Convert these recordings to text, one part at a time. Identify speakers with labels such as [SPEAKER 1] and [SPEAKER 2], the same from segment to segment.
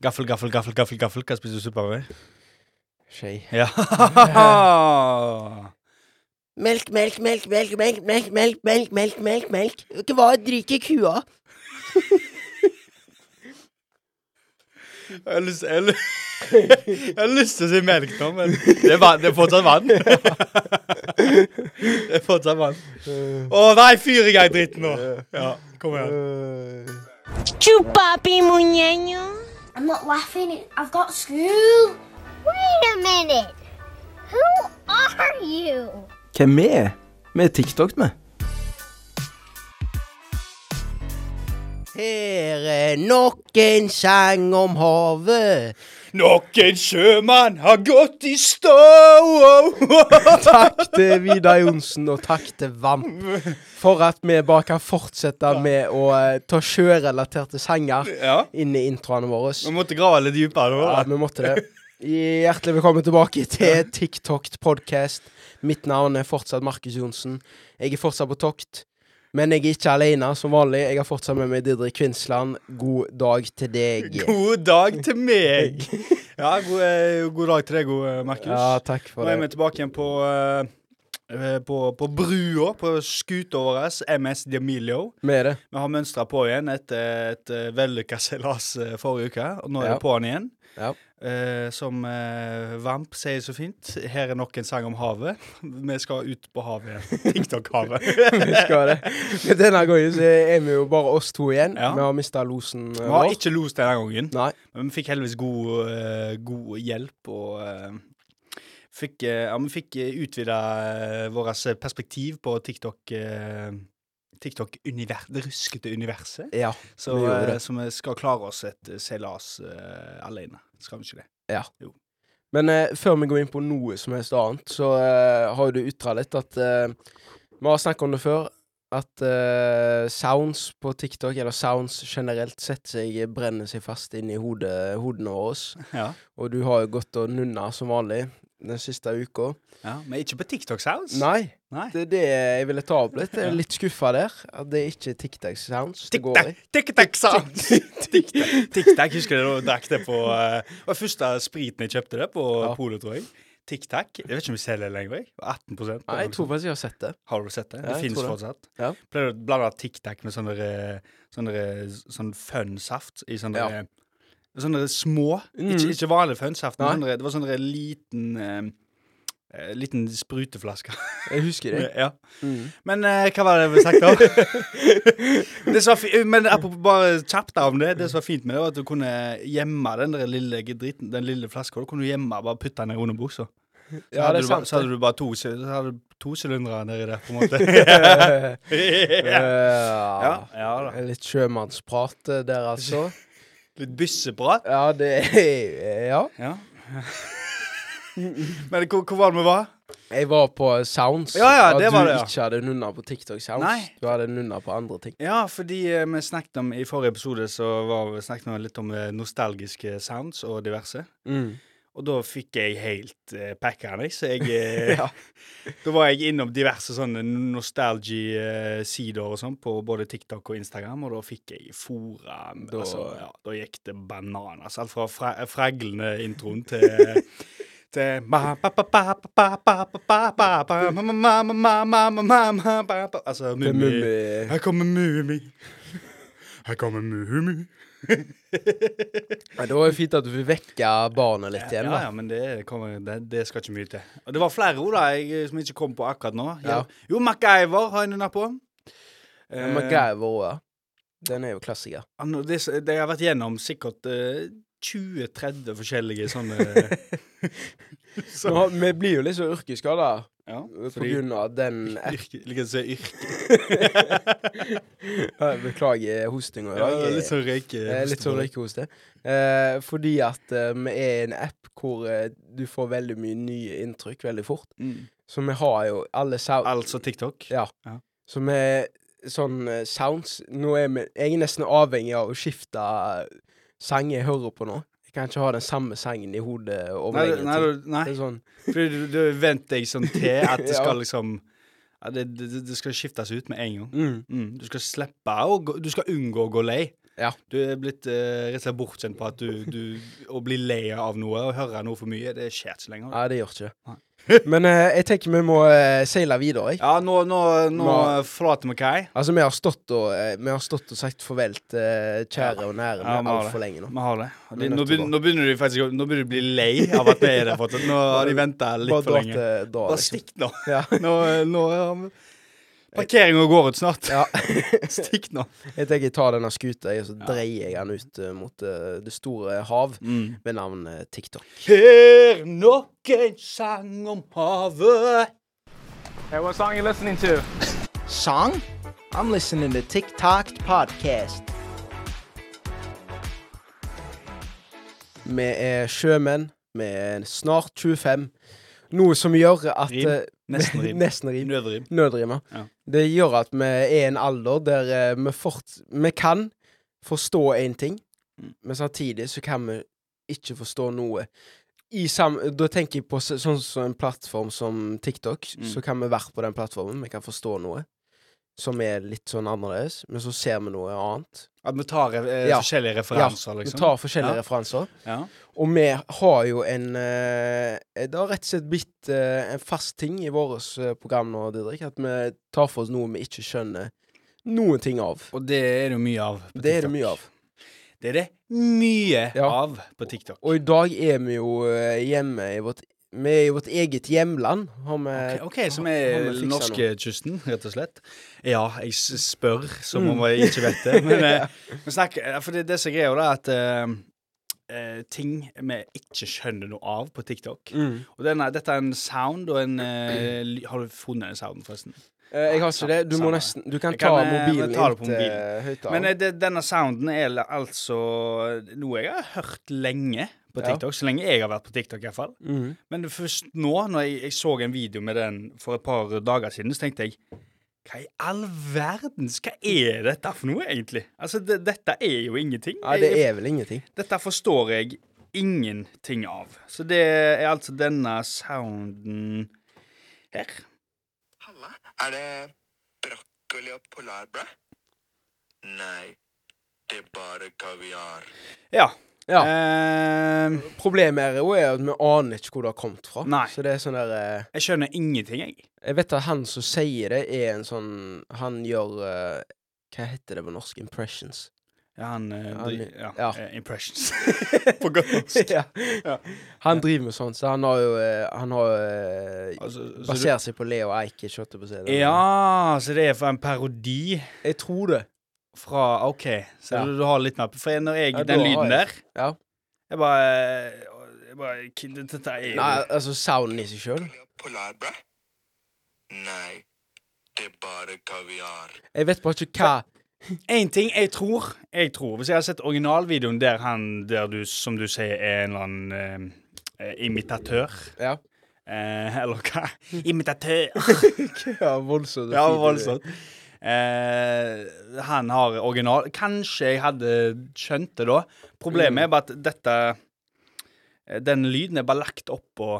[SPEAKER 1] Gaffel, gaffel, gaffel, gaffel, gaffel. Hva spiser du suppe med?
[SPEAKER 2] Skje.
[SPEAKER 1] Ja.
[SPEAKER 3] Melk, melk, melk, melk, melk, melk, melk, melk, melk, melk, melk. Hva drikker kua?
[SPEAKER 1] Jeg har lyst, jeg har lyst, jeg har lyst til å si melk nå, men det er, vann, det er fortsatt vann. Det er fortsatt vann. Å nei, fyr i gang dritten nå. Ja, kom igjen.
[SPEAKER 4] Chupapi muñeño.
[SPEAKER 5] I'm not laughing. I've got school.
[SPEAKER 4] Wait a minute. Who are you?
[SPEAKER 2] Hvem vi er? Vi er TikTok, vi.
[SPEAKER 3] Her er nok en sang om havet.
[SPEAKER 1] Nok en sjømann har gått i stå.
[SPEAKER 2] Takk til Vidar Johnsen, og takk til Vamp for at vi bare kan fortsette med å eh, ta sjørelaterte sanger
[SPEAKER 1] Ja.
[SPEAKER 2] inn i introene våre.
[SPEAKER 1] Vi måtte grave litt dypere nå.
[SPEAKER 2] Ja,
[SPEAKER 1] da.
[SPEAKER 2] vi måtte det. Hjertelig velkommen tilbake til TikTok podcast. Mitt navn er fortsatt Markus Johnsen. Jeg er fortsatt på tokt, men jeg er ikke alene som vanlig. Jeg har fortsatt med meg Didrik Kvinsland. God dag til deg.
[SPEAKER 1] God dag til meg. Ja, god, eh, god dag til deg, god eh, Markus.
[SPEAKER 2] Ja, takk
[SPEAKER 1] Nå
[SPEAKER 2] for
[SPEAKER 1] er vi
[SPEAKER 2] det.
[SPEAKER 1] tilbake igjen på, eh, eh, på, på brua, på skuta vår, MS Demilio.
[SPEAKER 2] Vi er det.
[SPEAKER 1] Vi har mønstra på igjen etter et eh, vellykka seilas eh, forrige uke, og nå er
[SPEAKER 2] Ja.
[SPEAKER 1] det på'n igjen.
[SPEAKER 2] Ja.
[SPEAKER 1] Eh, som eh, Vamp sier så fint, her er nok en sang om havet. Vi skal ut på havet igjen. TikTok-havet.
[SPEAKER 2] Vi skal det. Men denne gangen så er vi jo bare oss to igjen.
[SPEAKER 1] Ja.
[SPEAKER 2] Vi har mista losen eh,
[SPEAKER 1] Vi har
[SPEAKER 2] vår.
[SPEAKER 1] ikke los denne gangen,
[SPEAKER 2] Nei.
[SPEAKER 1] men vi fikk heldigvis god, eh, god hjelp og eh, Fikk, eh, ja, vi fikk utvida vårt eh, perspektiv på TikTok eh, TikTok-univers, det ruskete universet.
[SPEAKER 2] Ja.
[SPEAKER 1] Så,
[SPEAKER 2] Vi gjorde
[SPEAKER 1] eh,
[SPEAKER 2] det.
[SPEAKER 1] så vi skal klare oss et eh, seilas eh, alene. Skal vi ikke det?
[SPEAKER 2] Men eh, før vi går inn på noe som helst annet, så eh, har jo du ytra litt at eh, Vi har snakket om det før, at eh, sounds på TikTok, eller sounds generelt, setter seg, brenner seg fast inn i hodet, hodene våre.
[SPEAKER 1] Ja.
[SPEAKER 2] Og du har jo gått og nunna som vanlig den siste uka.
[SPEAKER 1] ja. Men ikke på TikTok Sounds?
[SPEAKER 2] Nei,
[SPEAKER 1] Nei.
[SPEAKER 2] det er det jeg ville ta opp litt. Jeg er litt skuffa der. At det er ikke TikTok sounds det går i.
[SPEAKER 1] TikTok Sounds! TikTok. Husker du da jeg drakk det på eh, Det var første spriten jeg kjøpte det på
[SPEAKER 2] Ja.
[SPEAKER 1] Polet, tror jeg. TikTok. Jeg vet ikke om vi selger det lenger. jeg. 18 eller
[SPEAKER 2] Nei, jeg
[SPEAKER 1] noe
[SPEAKER 2] tror
[SPEAKER 1] sånt.
[SPEAKER 2] faktisk jeg har sett det.
[SPEAKER 1] Har du sett det?
[SPEAKER 2] Ja,
[SPEAKER 1] det
[SPEAKER 2] jeg
[SPEAKER 1] finnes
[SPEAKER 2] tror det.
[SPEAKER 1] fortsatt.
[SPEAKER 2] Ja.
[SPEAKER 1] Pleier du å blande TikTok med sånne, eh, sånne, eh, sånn fun-saft i sånne
[SPEAKER 2] Ja.
[SPEAKER 1] Sånne små
[SPEAKER 2] Mm.
[SPEAKER 1] ikke, ikke vanlig fun-saft, men
[SPEAKER 2] Nei.
[SPEAKER 1] sånne, det var sånn liten eh, eh, Liten spruteflaske.
[SPEAKER 2] Jeg husker det.
[SPEAKER 1] ja.
[SPEAKER 2] Mm.
[SPEAKER 1] Men eh, hva var det vi snakket om? det som var fi men apropos bare kjapt da om det. Det som var fint med det, var at du kunne gjemme den der lille driten, den lille flaska. Du kunne du gjemme bare putte den ned under buksa. Så,
[SPEAKER 2] Ja,
[SPEAKER 1] hadde
[SPEAKER 2] det
[SPEAKER 1] du bare-
[SPEAKER 2] er sant.
[SPEAKER 1] så hadde du bare to, sy- så hadde du to sylindere nedi der, på en måte. ja.
[SPEAKER 2] ja.
[SPEAKER 1] ja da.
[SPEAKER 2] Litt sjømannsprat eh, der, altså.
[SPEAKER 1] Litt bysseprat.
[SPEAKER 2] Ja, det er Ja.
[SPEAKER 1] Ja. men hvor, hvor var det vi var?
[SPEAKER 2] Jeg var på Sounds.
[SPEAKER 1] Ja, ja, det
[SPEAKER 2] at
[SPEAKER 1] var
[SPEAKER 2] du
[SPEAKER 1] det, ja.
[SPEAKER 2] ikke hadde nunna på TikTok Sounds.
[SPEAKER 1] Nei.
[SPEAKER 2] Du hadde nunna på andre ting.
[SPEAKER 1] Ja, fordi eh, vi snakket om i forrige episode så var, vi snakket vi litt om eh, nostalgiske sounds og diverse.
[SPEAKER 2] Mm.
[SPEAKER 1] Og da fikk jeg helt uh, packeren, jeg. Så jeg eh,
[SPEAKER 2] Ja.
[SPEAKER 1] Da var jeg innom diverse sånne nostalgi-sider og sånn på både TikTok og Instagram, og da fikk jeg fora
[SPEAKER 2] Da-
[SPEAKER 1] altså, ja, Da gikk det bananas. Alt fra fra freglende introen til til ma- pa- pa- pa- pa- pa- pa- pa- pa- pa- pa- ma- ma- ma- ma- ma- ma- ma- ma- pa- pa- Altså
[SPEAKER 2] Det er
[SPEAKER 1] Mummi.
[SPEAKER 2] Mummi.
[SPEAKER 1] Her kommer Mummi. Her kommer Mummi.
[SPEAKER 2] Ja, det var jo fint at du fikk vekke barnet litt igjen,
[SPEAKER 1] Ja,
[SPEAKER 2] da.
[SPEAKER 1] ja, men det, kommer, det, det skal ikke mye til. Og det var flere ord da, jeg, som jeg ikke kom på akkurat nå.
[SPEAKER 2] Ja.
[SPEAKER 1] Jo, MacGyver har jeg nynna på.
[SPEAKER 2] Ja,
[SPEAKER 1] Eh,
[SPEAKER 2] MacGyver òg, ja. Den er jo klassiker.
[SPEAKER 1] han- det, det har vært gjennom sikkert eh, 20-30 forskjellige sånne
[SPEAKER 2] Nå har- vi blir jo litt så yrkesskada
[SPEAKER 1] ja,
[SPEAKER 2] på grunn av den
[SPEAKER 1] yrke, Liker å si yrke.
[SPEAKER 2] Ja, Beklager hostinga i
[SPEAKER 1] Ja,
[SPEAKER 2] dag. Jeg-
[SPEAKER 1] litt sånn røyke.
[SPEAKER 2] jeg er Litt sånn røykehoste. Eh, fordi at eh, vi er en app hvor eh, du får veldig mye nye inntrykk veldig fort.
[SPEAKER 1] Mm.
[SPEAKER 2] Så vi har jo alle sound...
[SPEAKER 1] Altså TikTok.
[SPEAKER 2] Ja.
[SPEAKER 1] Ja.
[SPEAKER 2] Så vi sånn eh, sounds Nå er vi Jeg er nesten avhengig av å skifte eh, sang jeg hører på nå. Jeg kan ikke ha den samme sangen i hodet over
[SPEAKER 1] Nei, du-
[SPEAKER 2] lenge
[SPEAKER 1] nei,
[SPEAKER 2] tid.
[SPEAKER 1] du- nei.
[SPEAKER 2] Det er sånn
[SPEAKER 1] Fordi du, du venter deg sånn til at det
[SPEAKER 2] Ja.
[SPEAKER 1] skal liksom ja, det, det, det skal skiftes ut med en gang.
[SPEAKER 2] mm.
[SPEAKER 1] Mm. Du skal slippe å gå Du skal unngå å gå lei.
[SPEAKER 2] Ja.
[SPEAKER 1] Du er blitt eh, rett og slett bortskjemt på at du, du Å bli lei av noe og høre noe for mye, det skjer ikke lenger.
[SPEAKER 2] Nei, det gjør ikke. Men eh, jeg tenker vi må eh, seile videre. Jeg.
[SPEAKER 1] Ja, nå, nå, nå
[SPEAKER 2] Nå-
[SPEAKER 1] forlater vi kai.
[SPEAKER 2] Altså, vi har stått og, eh, vi har stått og sagt farvel til eh, kjære og nære
[SPEAKER 1] Ja, vi
[SPEAKER 2] ja,
[SPEAKER 1] har det.
[SPEAKER 2] altfor lenge nå.
[SPEAKER 1] Vi har det. Og
[SPEAKER 2] Vi
[SPEAKER 1] De,
[SPEAKER 2] er
[SPEAKER 1] nå,
[SPEAKER 2] nødt til å
[SPEAKER 1] begynner, nå begynner de faktisk å- Nå begynner de å bli lei av at vi er der fortsatt. Nå har de venta
[SPEAKER 2] Bare
[SPEAKER 1] litt for
[SPEAKER 2] dra
[SPEAKER 1] lenge.
[SPEAKER 2] til dra,
[SPEAKER 1] Bare
[SPEAKER 2] liksom.
[SPEAKER 1] stikk nå.
[SPEAKER 2] Ja.
[SPEAKER 1] Nå, nå har vi Parkeringa går ut snart.
[SPEAKER 2] Ja.
[SPEAKER 1] Stikk nå.
[SPEAKER 2] Jeg tenker jeg tar denne skuta, jeg, og så dreier jeg den ut eh, mot eh, det store hav
[SPEAKER 1] Mm.
[SPEAKER 2] ved navn eh, TikTok.
[SPEAKER 1] Her nok en sang om havet.
[SPEAKER 6] Hey, what song you listening to?
[SPEAKER 3] Song? I'm listening to TikTok podcast.
[SPEAKER 2] Vi er sjømenn. Vi er snart 25. Noe som gjør at
[SPEAKER 1] Rim.
[SPEAKER 2] eh,
[SPEAKER 1] Nesten rim.
[SPEAKER 2] Nesten rim.
[SPEAKER 1] Nødrim.
[SPEAKER 2] Nødrimer.
[SPEAKER 1] Ja.
[SPEAKER 2] Det gjør at vi er i en alder der eh, vi, fort, vi kan forstå én ting,
[SPEAKER 1] Mm.
[SPEAKER 2] men samtidig så kan vi ikke forstå noe. I sam da tenker jeg på så, sånn som en plattform som TikTok,
[SPEAKER 1] Mm.
[SPEAKER 2] så kan vi være på den plattformen, vi kan forstå noe som er litt sånn annerledes, men så ser vi noe annet.
[SPEAKER 1] At vi tar eh,
[SPEAKER 2] Ja.
[SPEAKER 1] forskjellige referanser,
[SPEAKER 2] Vi
[SPEAKER 1] liksom.
[SPEAKER 2] tar forskjellige
[SPEAKER 1] Ja.
[SPEAKER 2] referanser.
[SPEAKER 1] Ja.
[SPEAKER 2] Og vi har jo en eh, Det har rett og slett blitt eh, en fast ting i vårt eh, program nå, Didrik, at vi tar for oss noe vi ikke skjønner noen ting av.
[SPEAKER 1] Og det er det jo mye av. på
[SPEAKER 2] Det er det
[SPEAKER 1] TikTok.
[SPEAKER 2] mye av.
[SPEAKER 1] Det er det mye
[SPEAKER 2] Ja.
[SPEAKER 1] av på TikTok.
[SPEAKER 2] Og i dag er vi jo eh, hjemme i vårt Vi er i vårt eget hjemland, har vi
[SPEAKER 1] Ok, ok, som
[SPEAKER 2] har
[SPEAKER 1] er
[SPEAKER 2] vi fiksa Eh, nå.
[SPEAKER 1] norskekysten, rett og slett. Ja, jeg s- spør
[SPEAKER 2] Mm.
[SPEAKER 1] som om jeg ikke vet det. Men, eh, men snakk, eh, for det, det som er greia, da, er at eh, eh, ting vi ikke skjønner noe av på TikTok
[SPEAKER 2] Mm.
[SPEAKER 1] Og denne, dette er en sound og en eh, ly- Har du funnet den sounden, forresten?
[SPEAKER 2] Eh, Jeg har ikke det. Du må
[SPEAKER 1] Samme.
[SPEAKER 2] nesten Du kan
[SPEAKER 1] Jeg
[SPEAKER 2] ta
[SPEAKER 1] kan, eh,
[SPEAKER 2] mobilen
[SPEAKER 1] ta det på mobilen.
[SPEAKER 2] inn til
[SPEAKER 1] Men eh,
[SPEAKER 2] høyttaleren.
[SPEAKER 1] det, denne sounden er la- altså noe jeg har hørt lenge på
[SPEAKER 2] Ja.
[SPEAKER 1] TikTok. Så lenge jeg har vært på TikTok, iallfall.
[SPEAKER 2] Mhm.
[SPEAKER 1] Men først nå, når jeg, jeg så en video med den for et par dager siden, så tenkte jeg hva i all verdens Hva er dette for noe, egentlig? Altså, det, dette er jo ingenting.
[SPEAKER 2] Nei, det
[SPEAKER 1] Jeg-
[SPEAKER 2] er vel ingenting.
[SPEAKER 1] Dette forstår jeg ingenting av. Så det er altså denne sounden her.
[SPEAKER 7] Halla, er det brokkoli og polarbrød? Nei, det er bare kaviar.
[SPEAKER 1] Ja.
[SPEAKER 2] Ja.
[SPEAKER 1] Ehm,
[SPEAKER 2] Problemet er jo er at vi aner ikke hvor det har kommet fra.
[SPEAKER 1] Nei.
[SPEAKER 2] Så det er sånn der eh,
[SPEAKER 1] jeg skjønner ingenting, jeg.
[SPEAKER 2] Jeg vet at han som sier det, er en sånn Han gjør eh, Hva heter det på norsk? Impressions.
[SPEAKER 1] Ja, han, eh,
[SPEAKER 2] Han-
[SPEAKER 1] dri- ja,
[SPEAKER 2] ja.
[SPEAKER 1] eh, Impressions. På godt norsk.
[SPEAKER 2] ja. Han driver med sånt, så han har jo eh, Han har eh,
[SPEAKER 1] Altså, så du,
[SPEAKER 2] Baserer seg på Leo Ajkic, holdt jeg på å si. Det-
[SPEAKER 1] ja, så det er for en parodi.
[SPEAKER 2] Jeg tror det.
[SPEAKER 1] Fra OK, så
[SPEAKER 2] Ja.
[SPEAKER 1] du, du har litt mer på For når jeg,
[SPEAKER 2] Ja, da
[SPEAKER 1] den
[SPEAKER 2] har
[SPEAKER 1] lyden
[SPEAKER 2] jeg-
[SPEAKER 1] der
[SPEAKER 2] Ja.
[SPEAKER 1] Jeg bare, eh, jeg bare "Kid, Dette er jo
[SPEAKER 2] Nei, altså sounden i seg sjøl.
[SPEAKER 7] Brokkoli og polarbrød? Nei, det er bare kaviar.
[SPEAKER 2] Jeg vet bare ikke hva
[SPEAKER 1] En ting jeg tror Jeg tror Hvis jeg har sett originalvideoen der han der du, som du sier, er en eller annen eh, eh, imitatør
[SPEAKER 2] Ja,
[SPEAKER 1] eh, Eller hva? Imitatør!
[SPEAKER 2] ja voldsomt. og
[SPEAKER 1] ja,
[SPEAKER 2] fint.
[SPEAKER 1] voldsomt. Eh, han har original Kanskje jeg hadde skjønt det da.
[SPEAKER 2] Mm.
[SPEAKER 1] Problemet er bare at dette eh, Den lyden er bare lagt oppå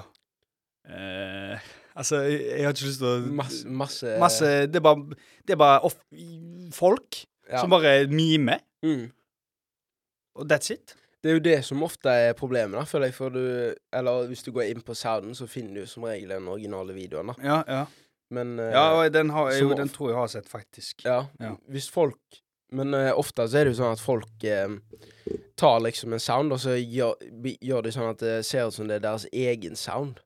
[SPEAKER 1] eh, Altså, jeg jeg har ikke lyst til å
[SPEAKER 2] Masse, masse,
[SPEAKER 1] Masse Det er bare, det er bare off, folk
[SPEAKER 2] ja.
[SPEAKER 1] som bare mimer,
[SPEAKER 2] mm.
[SPEAKER 1] og that's it.
[SPEAKER 2] Det er jo det som ofte er problemet, da, føler jeg. For du, eller hvis du går inn på sounden, så finner du som regel den originale videoen. da.
[SPEAKER 1] Ja, ja.
[SPEAKER 2] Men eh,
[SPEAKER 1] ja og den, har,
[SPEAKER 2] Som
[SPEAKER 1] jo, den
[SPEAKER 2] off.
[SPEAKER 1] tror jeg jeg har sett, faktisk.
[SPEAKER 2] Ja,
[SPEAKER 1] Ja.
[SPEAKER 2] hvis folk Men eh, ofte så er det jo sånn at folk eh, tar liksom en sound, og så gjør, bi- gjør de sånn at det ser ut som det er deres egen sound.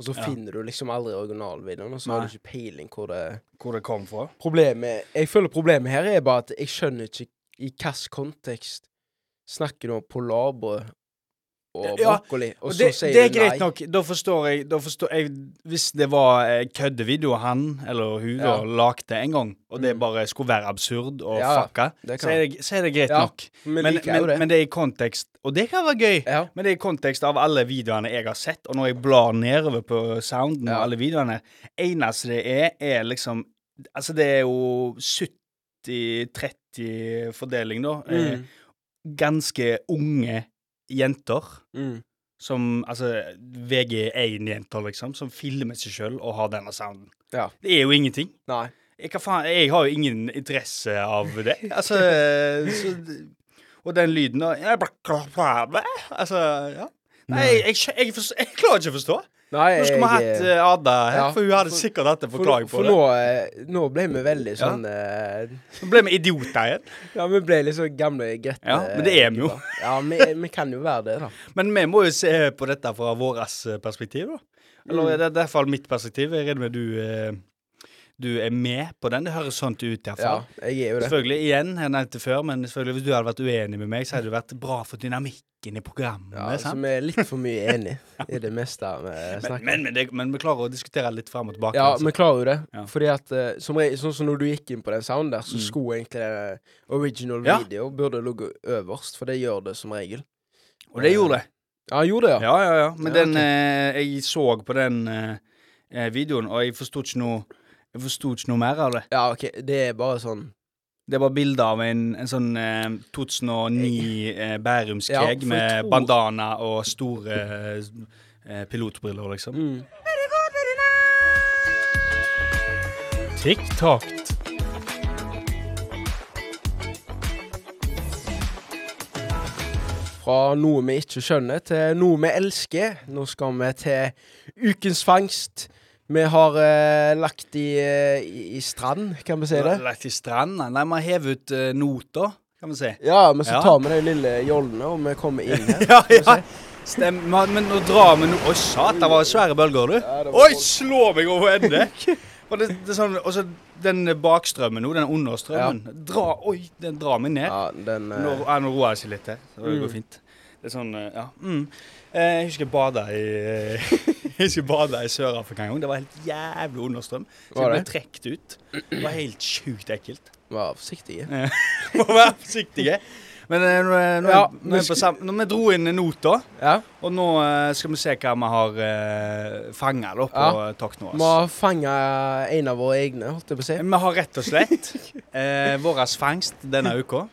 [SPEAKER 2] Og så
[SPEAKER 1] Ja.
[SPEAKER 2] finner du liksom aldri originalvideoen, og så har
[SPEAKER 1] Nei.
[SPEAKER 2] du ikke peiling hvor det
[SPEAKER 1] Hvor det kom fra.
[SPEAKER 2] Problemet Jeg føler problemet her er bare at jeg skjønner ikke i hvilken kontekst snakker du om polarbrød og
[SPEAKER 1] Ja,
[SPEAKER 2] brokkoli, og,
[SPEAKER 1] Og
[SPEAKER 2] så
[SPEAKER 1] det,
[SPEAKER 2] sier
[SPEAKER 1] det er
[SPEAKER 2] du nei.
[SPEAKER 1] greit nok. Da forstår jeg, da forstår jeg Hvis det var eh, køddevideo han eller hun da,
[SPEAKER 2] Ja. Mm.
[SPEAKER 1] lagde en gang, og det bare skulle være absurd og
[SPEAKER 2] Ja, ja.
[SPEAKER 1] fucka,
[SPEAKER 2] Det
[SPEAKER 1] så
[SPEAKER 2] kan.
[SPEAKER 1] er, det, så er det greit
[SPEAKER 2] Ja,
[SPEAKER 1] nok.
[SPEAKER 2] Vi
[SPEAKER 1] Men,
[SPEAKER 2] liker
[SPEAKER 1] men,
[SPEAKER 2] jo det.
[SPEAKER 1] men det er i kontekst, og det kan være gøy.
[SPEAKER 2] ja.
[SPEAKER 1] Men det er i kontekst av alle videoene jeg har sett, og når jeg blar nedover på sounden
[SPEAKER 2] Ja.
[SPEAKER 1] og alle videoene, eneste det er, er liksom Altså, det er jo 70-30-fordeling, da. Eh,
[SPEAKER 2] Mm,
[SPEAKER 1] Ganske unge jenter
[SPEAKER 2] mm.
[SPEAKER 1] som Altså VG1-jenter, liksom, som filmer seg sjøl og har denne sounden.
[SPEAKER 2] Ja.
[SPEAKER 1] Det er jo ingenting.
[SPEAKER 2] Nei.
[SPEAKER 1] Jeg, hva faen, jeg har jo ingen interesse av det. Altså, så Og den lyden og Altså, ja. Nei, jeg, skjø- jeg, forstår, jeg klarer ikke å forstå.
[SPEAKER 2] Nei,
[SPEAKER 1] Nå skulle vi
[SPEAKER 2] jeg-
[SPEAKER 1] hatt eh, Ada her,
[SPEAKER 2] Ja,
[SPEAKER 1] for hun hadde
[SPEAKER 2] for-
[SPEAKER 1] sikkert hatt en
[SPEAKER 2] For,
[SPEAKER 1] forklaring på
[SPEAKER 2] for
[SPEAKER 1] det.
[SPEAKER 2] nå, eh, nå ble vi veldig
[SPEAKER 1] Ja.
[SPEAKER 2] sånn eh,
[SPEAKER 1] Nå ble vi idioter igjen.
[SPEAKER 2] Ja, vi ble litt sånn gamle grette.
[SPEAKER 1] Ja, men det er vi jo.
[SPEAKER 2] gutter. Ja, vi, vi kan jo være det, da.
[SPEAKER 1] Men vi må jo se på dette fra vårt perspektiv, da.
[SPEAKER 2] Mm.
[SPEAKER 1] Eller det er i hvert fall mitt perspektiv. Jeg regner med du, eh, du er med på den. Det høres sånn ut,
[SPEAKER 2] Ja,
[SPEAKER 1] iallfall.
[SPEAKER 2] jeg er jo det.
[SPEAKER 1] Selvfølgelig, igjen, jeg nevnte det før, men selvfølgelig hvis du hadde vært uenig med meg, så hadde det vært bra for dynamikken i programmet.
[SPEAKER 2] Ja, så
[SPEAKER 1] sant?
[SPEAKER 2] vi er litt for mye enige i det meste vi
[SPEAKER 1] Men,
[SPEAKER 2] snakker om.
[SPEAKER 1] men, men, det, men vi klarer å diskutere litt frem og tilbake.
[SPEAKER 2] Ja,
[SPEAKER 1] altså.
[SPEAKER 2] vi klarer jo det.
[SPEAKER 1] Ja. Mm.
[SPEAKER 2] Fordi at eh, som jeg, Sånn som når du gikk inn på den sounden der, så skulle egentlig eh, original
[SPEAKER 1] Ja.
[SPEAKER 2] video burde ligge øverst, for det gjør det som regel.
[SPEAKER 1] og det gjorde det.
[SPEAKER 2] Ja, han gjorde det, ja.
[SPEAKER 1] Ja, ja, ja. Men
[SPEAKER 2] Ja,
[SPEAKER 1] den eh, Jeg så på den eh, eh, videoen, og jeg forsto ikke noe Jeg forsto ikke noe mer av det.
[SPEAKER 2] Ja, OK, det er bare sånn
[SPEAKER 1] Det var bilde av en, en sånn eh, 2009 eh, Bærumsk
[SPEAKER 2] Ja,
[SPEAKER 1] keg
[SPEAKER 2] for jeg
[SPEAKER 1] med
[SPEAKER 2] tror-
[SPEAKER 1] bandana og store eh, pilotbriller, liksom.
[SPEAKER 2] mm.
[SPEAKER 1] TikTok.
[SPEAKER 2] Fra noe vi ikke skjønner, til noe vi elsker. Nå skal vi til ukens fangst. Vi har eh, lagt i, eh, i, i strand, kan vi si det.
[SPEAKER 1] Lagt i stranda. Nei, man hever ut eh, noter, kan vi si.
[SPEAKER 2] Ja, men så
[SPEAKER 1] Ja.
[SPEAKER 2] tar vi de lille jollene, og vi kommer inn her.
[SPEAKER 1] Ja, ja. Stem, men men nå drar vi noe Oi, satan, det var svære bølger, du.
[SPEAKER 2] det var
[SPEAKER 1] Oi,
[SPEAKER 2] vold-
[SPEAKER 1] slå meg over ende! Og det, det er sånn, og så den bakstrømmen nå, den understrømmen Dra, Oi, den drar meg ned.
[SPEAKER 2] Ja, den eh, Mm.
[SPEAKER 1] Nå, ja, nå roer jeg seg litt til, så det går fint. Det er sånn, eh, ja. Mm. Eh, Jeg husker jeg bada i, eh, jeg husker jeg badet i Sør-Afrika en gang. Det var helt jævlig understrøm. Så jeg
[SPEAKER 2] Var
[SPEAKER 1] ble
[SPEAKER 2] det?
[SPEAKER 1] trukket ut. Det var helt sjukt ekkelt.
[SPEAKER 2] Vær forsiktig.
[SPEAKER 1] Må være forsiktige. Men eh, nå, er- nå,
[SPEAKER 2] Ja,
[SPEAKER 1] er- nå er vi på sam- når vi dro inn nota,
[SPEAKER 2] Ja.
[SPEAKER 1] og nå eh, skal vi se hva vi har eh, fanga da, på
[SPEAKER 2] Ja.
[SPEAKER 1] Tok nå.
[SPEAKER 2] Vi har fanga en av våre egne, holdt jeg på å si.
[SPEAKER 1] Eh, Vi har rett og slett eh, vår fangst denne uka.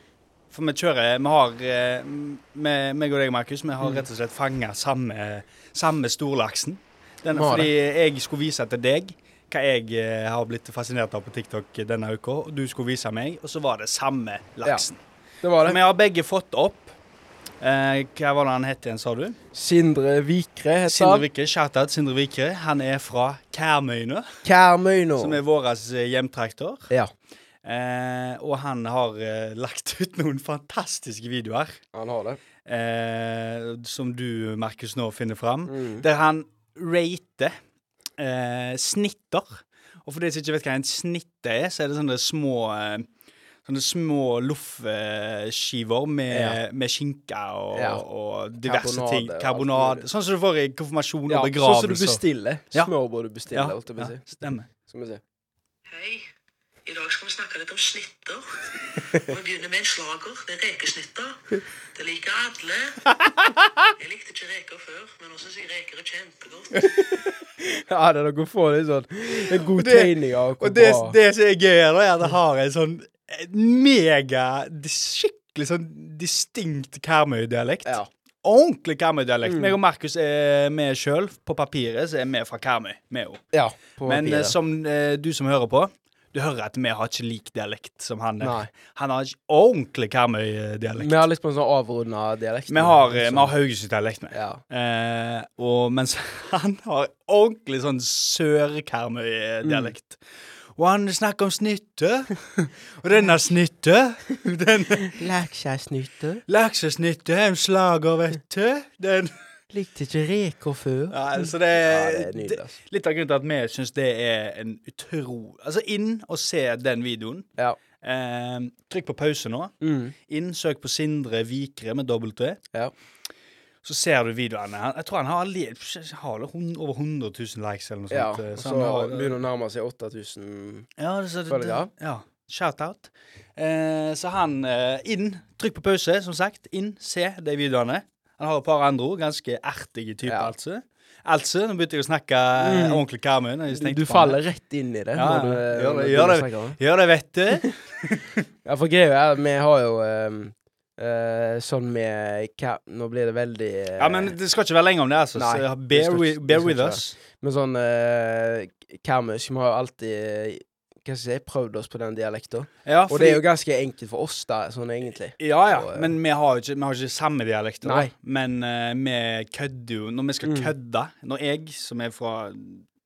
[SPEAKER 1] For vi kjører Vi har eh, vi, meg og deg, Markus, vi
[SPEAKER 2] Mm.
[SPEAKER 1] har rett og slett fanga samme, samme storlaksen. Denne,
[SPEAKER 2] Vi har
[SPEAKER 1] fordi jeg skulle vise til deg hva jeg eh, har blitt fascinert av på TikTok denne uka. Og du skulle vise meg, og så var det samme laksen.
[SPEAKER 2] Det var det.
[SPEAKER 1] Vi har begge fått opp eh, Hva var det han het igjen, sa du?
[SPEAKER 2] Sindre Vikre
[SPEAKER 1] Sindre
[SPEAKER 2] heter han.
[SPEAKER 1] Vikre. Shoutout Sindre Vikre. Han er fra Kærmøyene,
[SPEAKER 2] Kærmøy nå.
[SPEAKER 1] som er vår eh, hjemtrakter.
[SPEAKER 2] Ja.
[SPEAKER 1] Eh, og han har eh, lagt ut noen fantastiske videoer,
[SPEAKER 2] Han har det.
[SPEAKER 1] eh, som du, Markus, nå finner fram,
[SPEAKER 2] Mm.
[SPEAKER 1] der han rater eh, snitter. Og for de som ikke vet hva en snitte er, så er det sånne små eh, Sånne små loffskiver med, med skinke og,
[SPEAKER 2] Ja.
[SPEAKER 1] og diverse
[SPEAKER 2] Karbonade
[SPEAKER 1] ting.
[SPEAKER 2] og alt
[SPEAKER 1] Karbonade.
[SPEAKER 2] mulig.
[SPEAKER 1] Sånn som du får i konfirmasjon
[SPEAKER 2] Ja,
[SPEAKER 1] og
[SPEAKER 2] sånn som
[SPEAKER 1] begravelser.
[SPEAKER 2] du bestiller.
[SPEAKER 1] Ja.
[SPEAKER 2] Smørbrød du
[SPEAKER 1] ja,
[SPEAKER 2] bestiller, holdt jeg på
[SPEAKER 1] ja,
[SPEAKER 2] å si.
[SPEAKER 1] stemmer.
[SPEAKER 2] Skal vi se.
[SPEAKER 8] Hei. I dag skal vi snakke litt om snitter. Og vi begynner med en slager. Det er rekesnitter. Det liker alle. Jeg likte ikke reker før, men nå syns jeg reker er kjempegodt.
[SPEAKER 2] Ja, det er dere får litt sånn en god
[SPEAKER 1] det-
[SPEAKER 2] tegning av hvor
[SPEAKER 1] Og det,
[SPEAKER 2] bra
[SPEAKER 1] det som er gøy, her, er at det har en sånn mega dis- Skikkelig sånn distinkt Karmøy-dialekt.
[SPEAKER 2] Ja. Mm.
[SPEAKER 1] Ordentlig Karmøy-dialekt. Meg og Markus er med sjøl. På papiret så er vi fra Karmøy. Vi òg.
[SPEAKER 2] Ja, på
[SPEAKER 1] Men eh,
[SPEAKER 2] papiret.
[SPEAKER 1] som eh, du som hører på, du hører at vi har ikke lik dialekt som han
[SPEAKER 2] Nei.
[SPEAKER 1] der. Han har ikke ordentlig Karmøy-dialekt.
[SPEAKER 2] Vi har litt på en sånn avrunda dialekt. Sånn.
[SPEAKER 1] Vi har, eh, vi har Haugesund-dialekt med.
[SPEAKER 2] Ja.
[SPEAKER 1] Eh, og mens han har ordentlig sånn sør-Karmøy-dialekt. Og han snakker om snytte. Og denne snytte den
[SPEAKER 2] Lekseisnytte.
[SPEAKER 1] Laksesnytte er en slager, vet du. Den,
[SPEAKER 2] Likte ikke reker før.
[SPEAKER 1] ja, så det,
[SPEAKER 2] Ja, det er nydelig, altså.
[SPEAKER 1] Litt av grunnen til at vi syns det er en utro... Altså, inn og se den videoen.
[SPEAKER 2] Ja.
[SPEAKER 1] Eh, trykk på pause nå.
[SPEAKER 2] Mm.
[SPEAKER 1] Inn, søk på Sindre Vikre med dobbelt T.
[SPEAKER 2] Ja.
[SPEAKER 1] Så ser du videoene. Han- Jeg tror han har, li- har det hun- over 100 000 likes eller noe
[SPEAKER 2] ja.
[SPEAKER 1] sånt. eh,
[SPEAKER 2] Så
[SPEAKER 1] han har-
[SPEAKER 2] begynner å nærme seg 8000
[SPEAKER 1] ja, så det,
[SPEAKER 2] Følger, ja.
[SPEAKER 1] det, ja. Shout-out. Eh, så han eh, inn. Trykk på pause, som sagt. Inn, se de videoene. Han har et par andre ord. Ganske ertige typer,
[SPEAKER 2] Ja.
[SPEAKER 1] altså. Altså, nå begynte jeg å snakke eh, ordentlig Karmøy. når jeg
[SPEAKER 2] Mm. Du,
[SPEAKER 1] tenkte
[SPEAKER 2] du
[SPEAKER 1] på
[SPEAKER 2] faller
[SPEAKER 1] det.
[SPEAKER 2] rett inn i det.
[SPEAKER 1] Ja,
[SPEAKER 2] når du, eh,
[SPEAKER 1] ja.
[SPEAKER 2] når
[SPEAKER 1] Gjør det,
[SPEAKER 2] du
[SPEAKER 1] gjør
[SPEAKER 2] snakker
[SPEAKER 1] det,
[SPEAKER 2] om det.
[SPEAKER 1] gjør det vet du.
[SPEAKER 2] Ja, for greia er at vi har jo ehm, eh, sånn med hva- Nå blir det veldig eh,
[SPEAKER 1] Ja, men det skal ikke være lenge om det, altså.
[SPEAKER 2] Nei,
[SPEAKER 1] så
[SPEAKER 2] det
[SPEAKER 1] bear,
[SPEAKER 2] skal
[SPEAKER 1] wi-
[SPEAKER 2] ikke- det
[SPEAKER 1] bear
[SPEAKER 2] skal
[SPEAKER 1] with
[SPEAKER 2] ikke
[SPEAKER 1] us.
[SPEAKER 2] Med sånn uh, kermus. Vi har jo alltid hva skal jeg si, prøvd oss på den dialekta.
[SPEAKER 1] Ja,
[SPEAKER 2] Og det er jo ganske enkelt for oss, da, sånn egentlig.
[SPEAKER 1] ja, ja,
[SPEAKER 2] Og, eh,
[SPEAKER 1] men vi har jo ikke, vi har ikke samme dialekt. da.
[SPEAKER 2] Nei. Mm.
[SPEAKER 1] Men eh, vi kødder jo Når vi skal kødde Når jeg, som er fra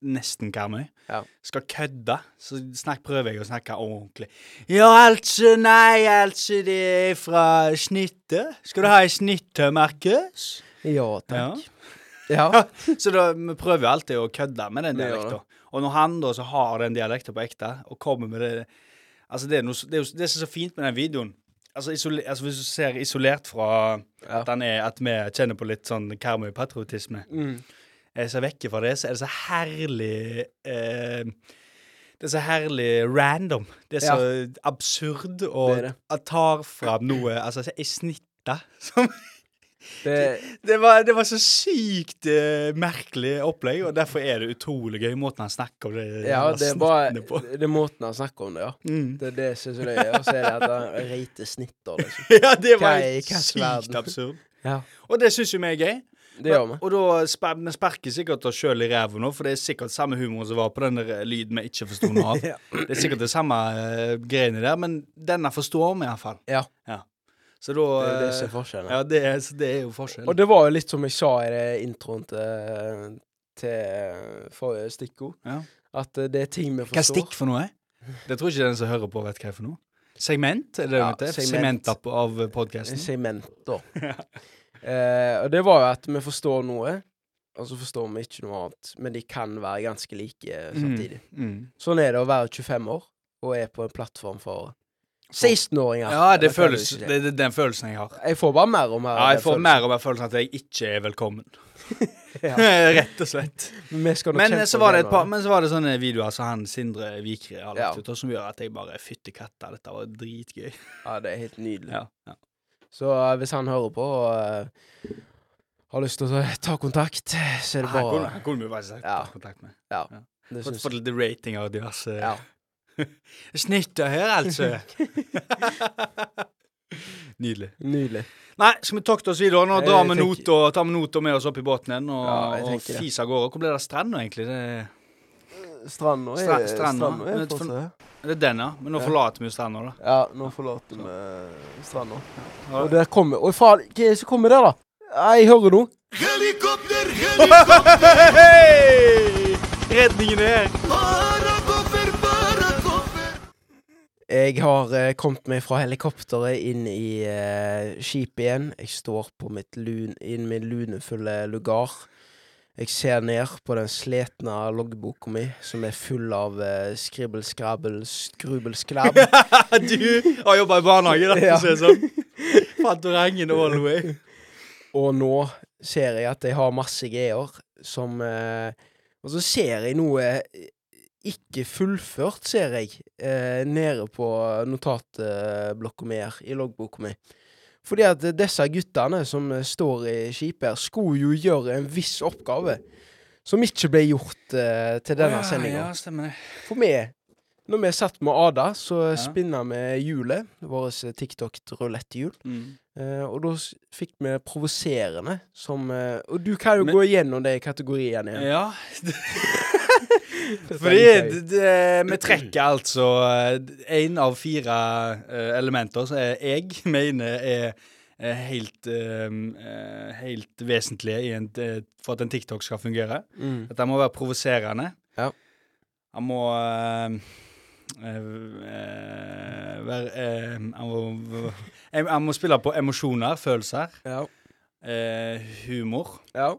[SPEAKER 1] nesten Karmøy,
[SPEAKER 2] Ja.
[SPEAKER 1] skal kødde, så snakk, prøver jeg å snakke ordentlig. Ja, altså, nei, altså, det er fra snittet. Skal du ha ei snitte, Markus?
[SPEAKER 2] Ja, takk. Ja.
[SPEAKER 1] Så da, vi prøver jo alltid å kødde med den
[SPEAKER 2] Vi gjør
[SPEAKER 1] dialekten. Og når han da så har den dialekten på ekte, og kommer med det Altså, det er, noe, s- det er jo s- det som er så fint med den videoen. Altså, isole, altså Hvis du ser isolert fra
[SPEAKER 2] Ja.
[SPEAKER 1] at, han er, at vi kjenner på litt sånn karmøy-patriotisme
[SPEAKER 2] Mm.
[SPEAKER 1] Er jeg ser vekk fra det, så er det så herlig eh, Det er så herlig random. Det er så absurd og
[SPEAKER 2] Det er det.
[SPEAKER 1] jeg tar fram noe Altså, ei snitte som
[SPEAKER 2] Det,
[SPEAKER 1] det var, det var så sykt eh, merkelig opplegg, og derfor er det utrolig gøy måten han snakker om det
[SPEAKER 2] ja,
[SPEAKER 1] jævla
[SPEAKER 2] det er bare
[SPEAKER 1] snittene på.
[SPEAKER 2] Det er måten han snakker om det, ja.
[SPEAKER 1] Mm.
[SPEAKER 2] Det er det jeg syns er løye. Og så er det at han reiter snitter, liksom.
[SPEAKER 1] Ja, det var
[SPEAKER 2] Hva er- hva er
[SPEAKER 1] sykt
[SPEAKER 2] verden?
[SPEAKER 1] absurd.
[SPEAKER 2] Ja.
[SPEAKER 1] Og det syns jo vi er gøy.
[SPEAKER 2] Det gjør vi.
[SPEAKER 1] Og da spa- vi sparker sikkert oss sjøl i ræva nå, for det er sikkert samme humor som var på den der eh, lyden vi ikke forsto noe av.
[SPEAKER 2] Ja.
[SPEAKER 1] Det er sikkert det samme eh, greiene der, men denne forstår vi iallfall.
[SPEAKER 2] Ja.
[SPEAKER 1] Så da
[SPEAKER 2] Det er det som
[SPEAKER 1] eh,
[SPEAKER 2] er forskjellen.
[SPEAKER 1] ja, det, er- så det er jo forskjell.
[SPEAKER 2] Og det var jo litt som jeg sa i det introen til, til forrige stikkord,
[SPEAKER 1] Ja.
[SPEAKER 2] at eh, det er ting vi
[SPEAKER 1] Hva er
[SPEAKER 2] forstår.
[SPEAKER 1] stikk for noe? Det tror ikke den som hører på, vet hva er for noe. Segment? Er det det
[SPEAKER 2] Ja,
[SPEAKER 1] det heter?
[SPEAKER 2] segment.
[SPEAKER 1] Segmenter på- av eh, podkasten?
[SPEAKER 2] segmenter. eh, og det var jo at vi forstår noe, og så forstår vi ikke noe annet. Men de kan være ganske like eh, samtidig.
[SPEAKER 1] Mm.
[SPEAKER 2] Sånn er det å være 25 år og er på en plattform for 16-åringer.
[SPEAKER 1] Ja, det
[SPEAKER 2] Eller hva
[SPEAKER 1] føles,
[SPEAKER 2] du
[SPEAKER 1] det,
[SPEAKER 2] sier.
[SPEAKER 1] det er den følelsen jeg har.
[SPEAKER 2] Jeg får bare mer og mer.
[SPEAKER 1] Ja,
[SPEAKER 2] av
[SPEAKER 1] jeg
[SPEAKER 2] den
[SPEAKER 1] får
[SPEAKER 2] følelsen.
[SPEAKER 1] mer og mer følelsen at jeg ikke er velkommen.
[SPEAKER 2] Ja.
[SPEAKER 1] Rett og slett.
[SPEAKER 2] Men vi skal nok
[SPEAKER 1] Men eh,
[SPEAKER 2] kjempe
[SPEAKER 1] så, var det et
[SPEAKER 2] gjennom
[SPEAKER 1] par, men så var det sånne videoer som han Sindre Vikre har lagt
[SPEAKER 2] Ja.
[SPEAKER 1] ut, og som gjør at jeg bare Fytti katta, dette var dritgøy.
[SPEAKER 2] Ja, det er helt nydelig.
[SPEAKER 1] Ja, ja.
[SPEAKER 2] Så eh, hvis han hører på og eh, har lyst til å ta kontakt, så er det
[SPEAKER 1] Han kunne-
[SPEAKER 2] bare
[SPEAKER 1] han kunne vi jo bare sagt
[SPEAKER 2] Ja.
[SPEAKER 1] ta kontakt med.
[SPEAKER 2] det
[SPEAKER 1] Fått
[SPEAKER 2] syns-
[SPEAKER 1] fått litt ratinger og diverse
[SPEAKER 2] ja.
[SPEAKER 1] snitter her, altså. Nydelig.
[SPEAKER 2] Nydelig.
[SPEAKER 1] Nei, skal vi takte oss videre? Nå
[SPEAKER 2] Jeg
[SPEAKER 1] drar vi
[SPEAKER 2] tenker-
[SPEAKER 1] nota tar vi nota med oss opp i båten igjen og,
[SPEAKER 2] Ja, jeg
[SPEAKER 1] og
[SPEAKER 2] tenker det.
[SPEAKER 1] fiser av gårde. Hvor ble det av stranda, egentlig? Det,
[SPEAKER 2] Stranda er
[SPEAKER 1] Stra- stranda.
[SPEAKER 2] stranda er
[SPEAKER 1] Men for-
[SPEAKER 2] fortsatt-
[SPEAKER 1] det er den, ja. Men nå
[SPEAKER 2] Ja.
[SPEAKER 1] forlater vi jo stranda, da.
[SPEAKER 2] Ja, nå forlater vi stranda. Og der kommer Og faen, hva er det som kommer der, da? Nei, Jeg hører noe.
[SPEAKER 1] Redningen er her.
[SPEAKER 2] Jeg har eh, kommet meg fra helikopteret inn i eh, skipet igjen. Jeg står på mitt lun, inn min lunefulle lugar. Jeg ser ned på den sletne loggboka mi, som er full av eh, skribbel, skrabbel, skrubbel, skrabb.
[SPEAKER 1] du har jobba i barnehage, da,
[SPEAKER 2] Ja.
[SPEAKER 1] for å si det sånn. Fantorangen all the way.
[SPEAKER 2] Og nå ser jeg at jeg har masse greier som eh, Og så ser jeg noe eh, ikke fullført, ser jeg, eh, nede på notatblokka mi her, i loggboka mi. Fordi at eh, disse guttene som eh, står i skipet her, skulle jo gjøre en viss oppgave. Som ikke ble gjort eh, til denne
[SPEAKER 1] Ja,
[SPEAKER 2] sendinga.
[SPEAKER 1] Ja, stemmer det.
[SPEAKER 2] For vi, når vi satt med Ada, så
[SPEAKER 1] Ja.
[SPEAKER 2] spinna vi hjulet, vårt TikTok-ruletthjul.
[SPEAKER 1] Mm.
[SPEAKER 2] Eh, og da s- fikk vi provoserende som eh, Og du kan jo
[SPEAKER 1] Men- Eh,
[SPEAKER 2] gå igjennom de kategoriene igjen.
[SPEAKER 1] Ja.
[SPEAKER 2] Dette er
[SPEAKER 1] Fordi
[SPEAKER 2] litt gøy.
[SPEAKER 1] det, det, vi trekker altså én av fire eh, elementer som jeg- jeg mener er eh, helt, eh, eh, helt vesentlige i en, eh, for at en TikTok skal fungere.
[SPEAKER 2] mm.
[SPEAKER 1] At den må være provoserende.
[SPEAKER 2] Ja.
[SPEAKER 1] Han må eh, eh, være eh, Han må, jeg, jeg må spille på emosjoner, følelser,
[SPEAKER 2] Ja.
[SPEAKER 1] eh, humor,
[SPEAKER 2] ja.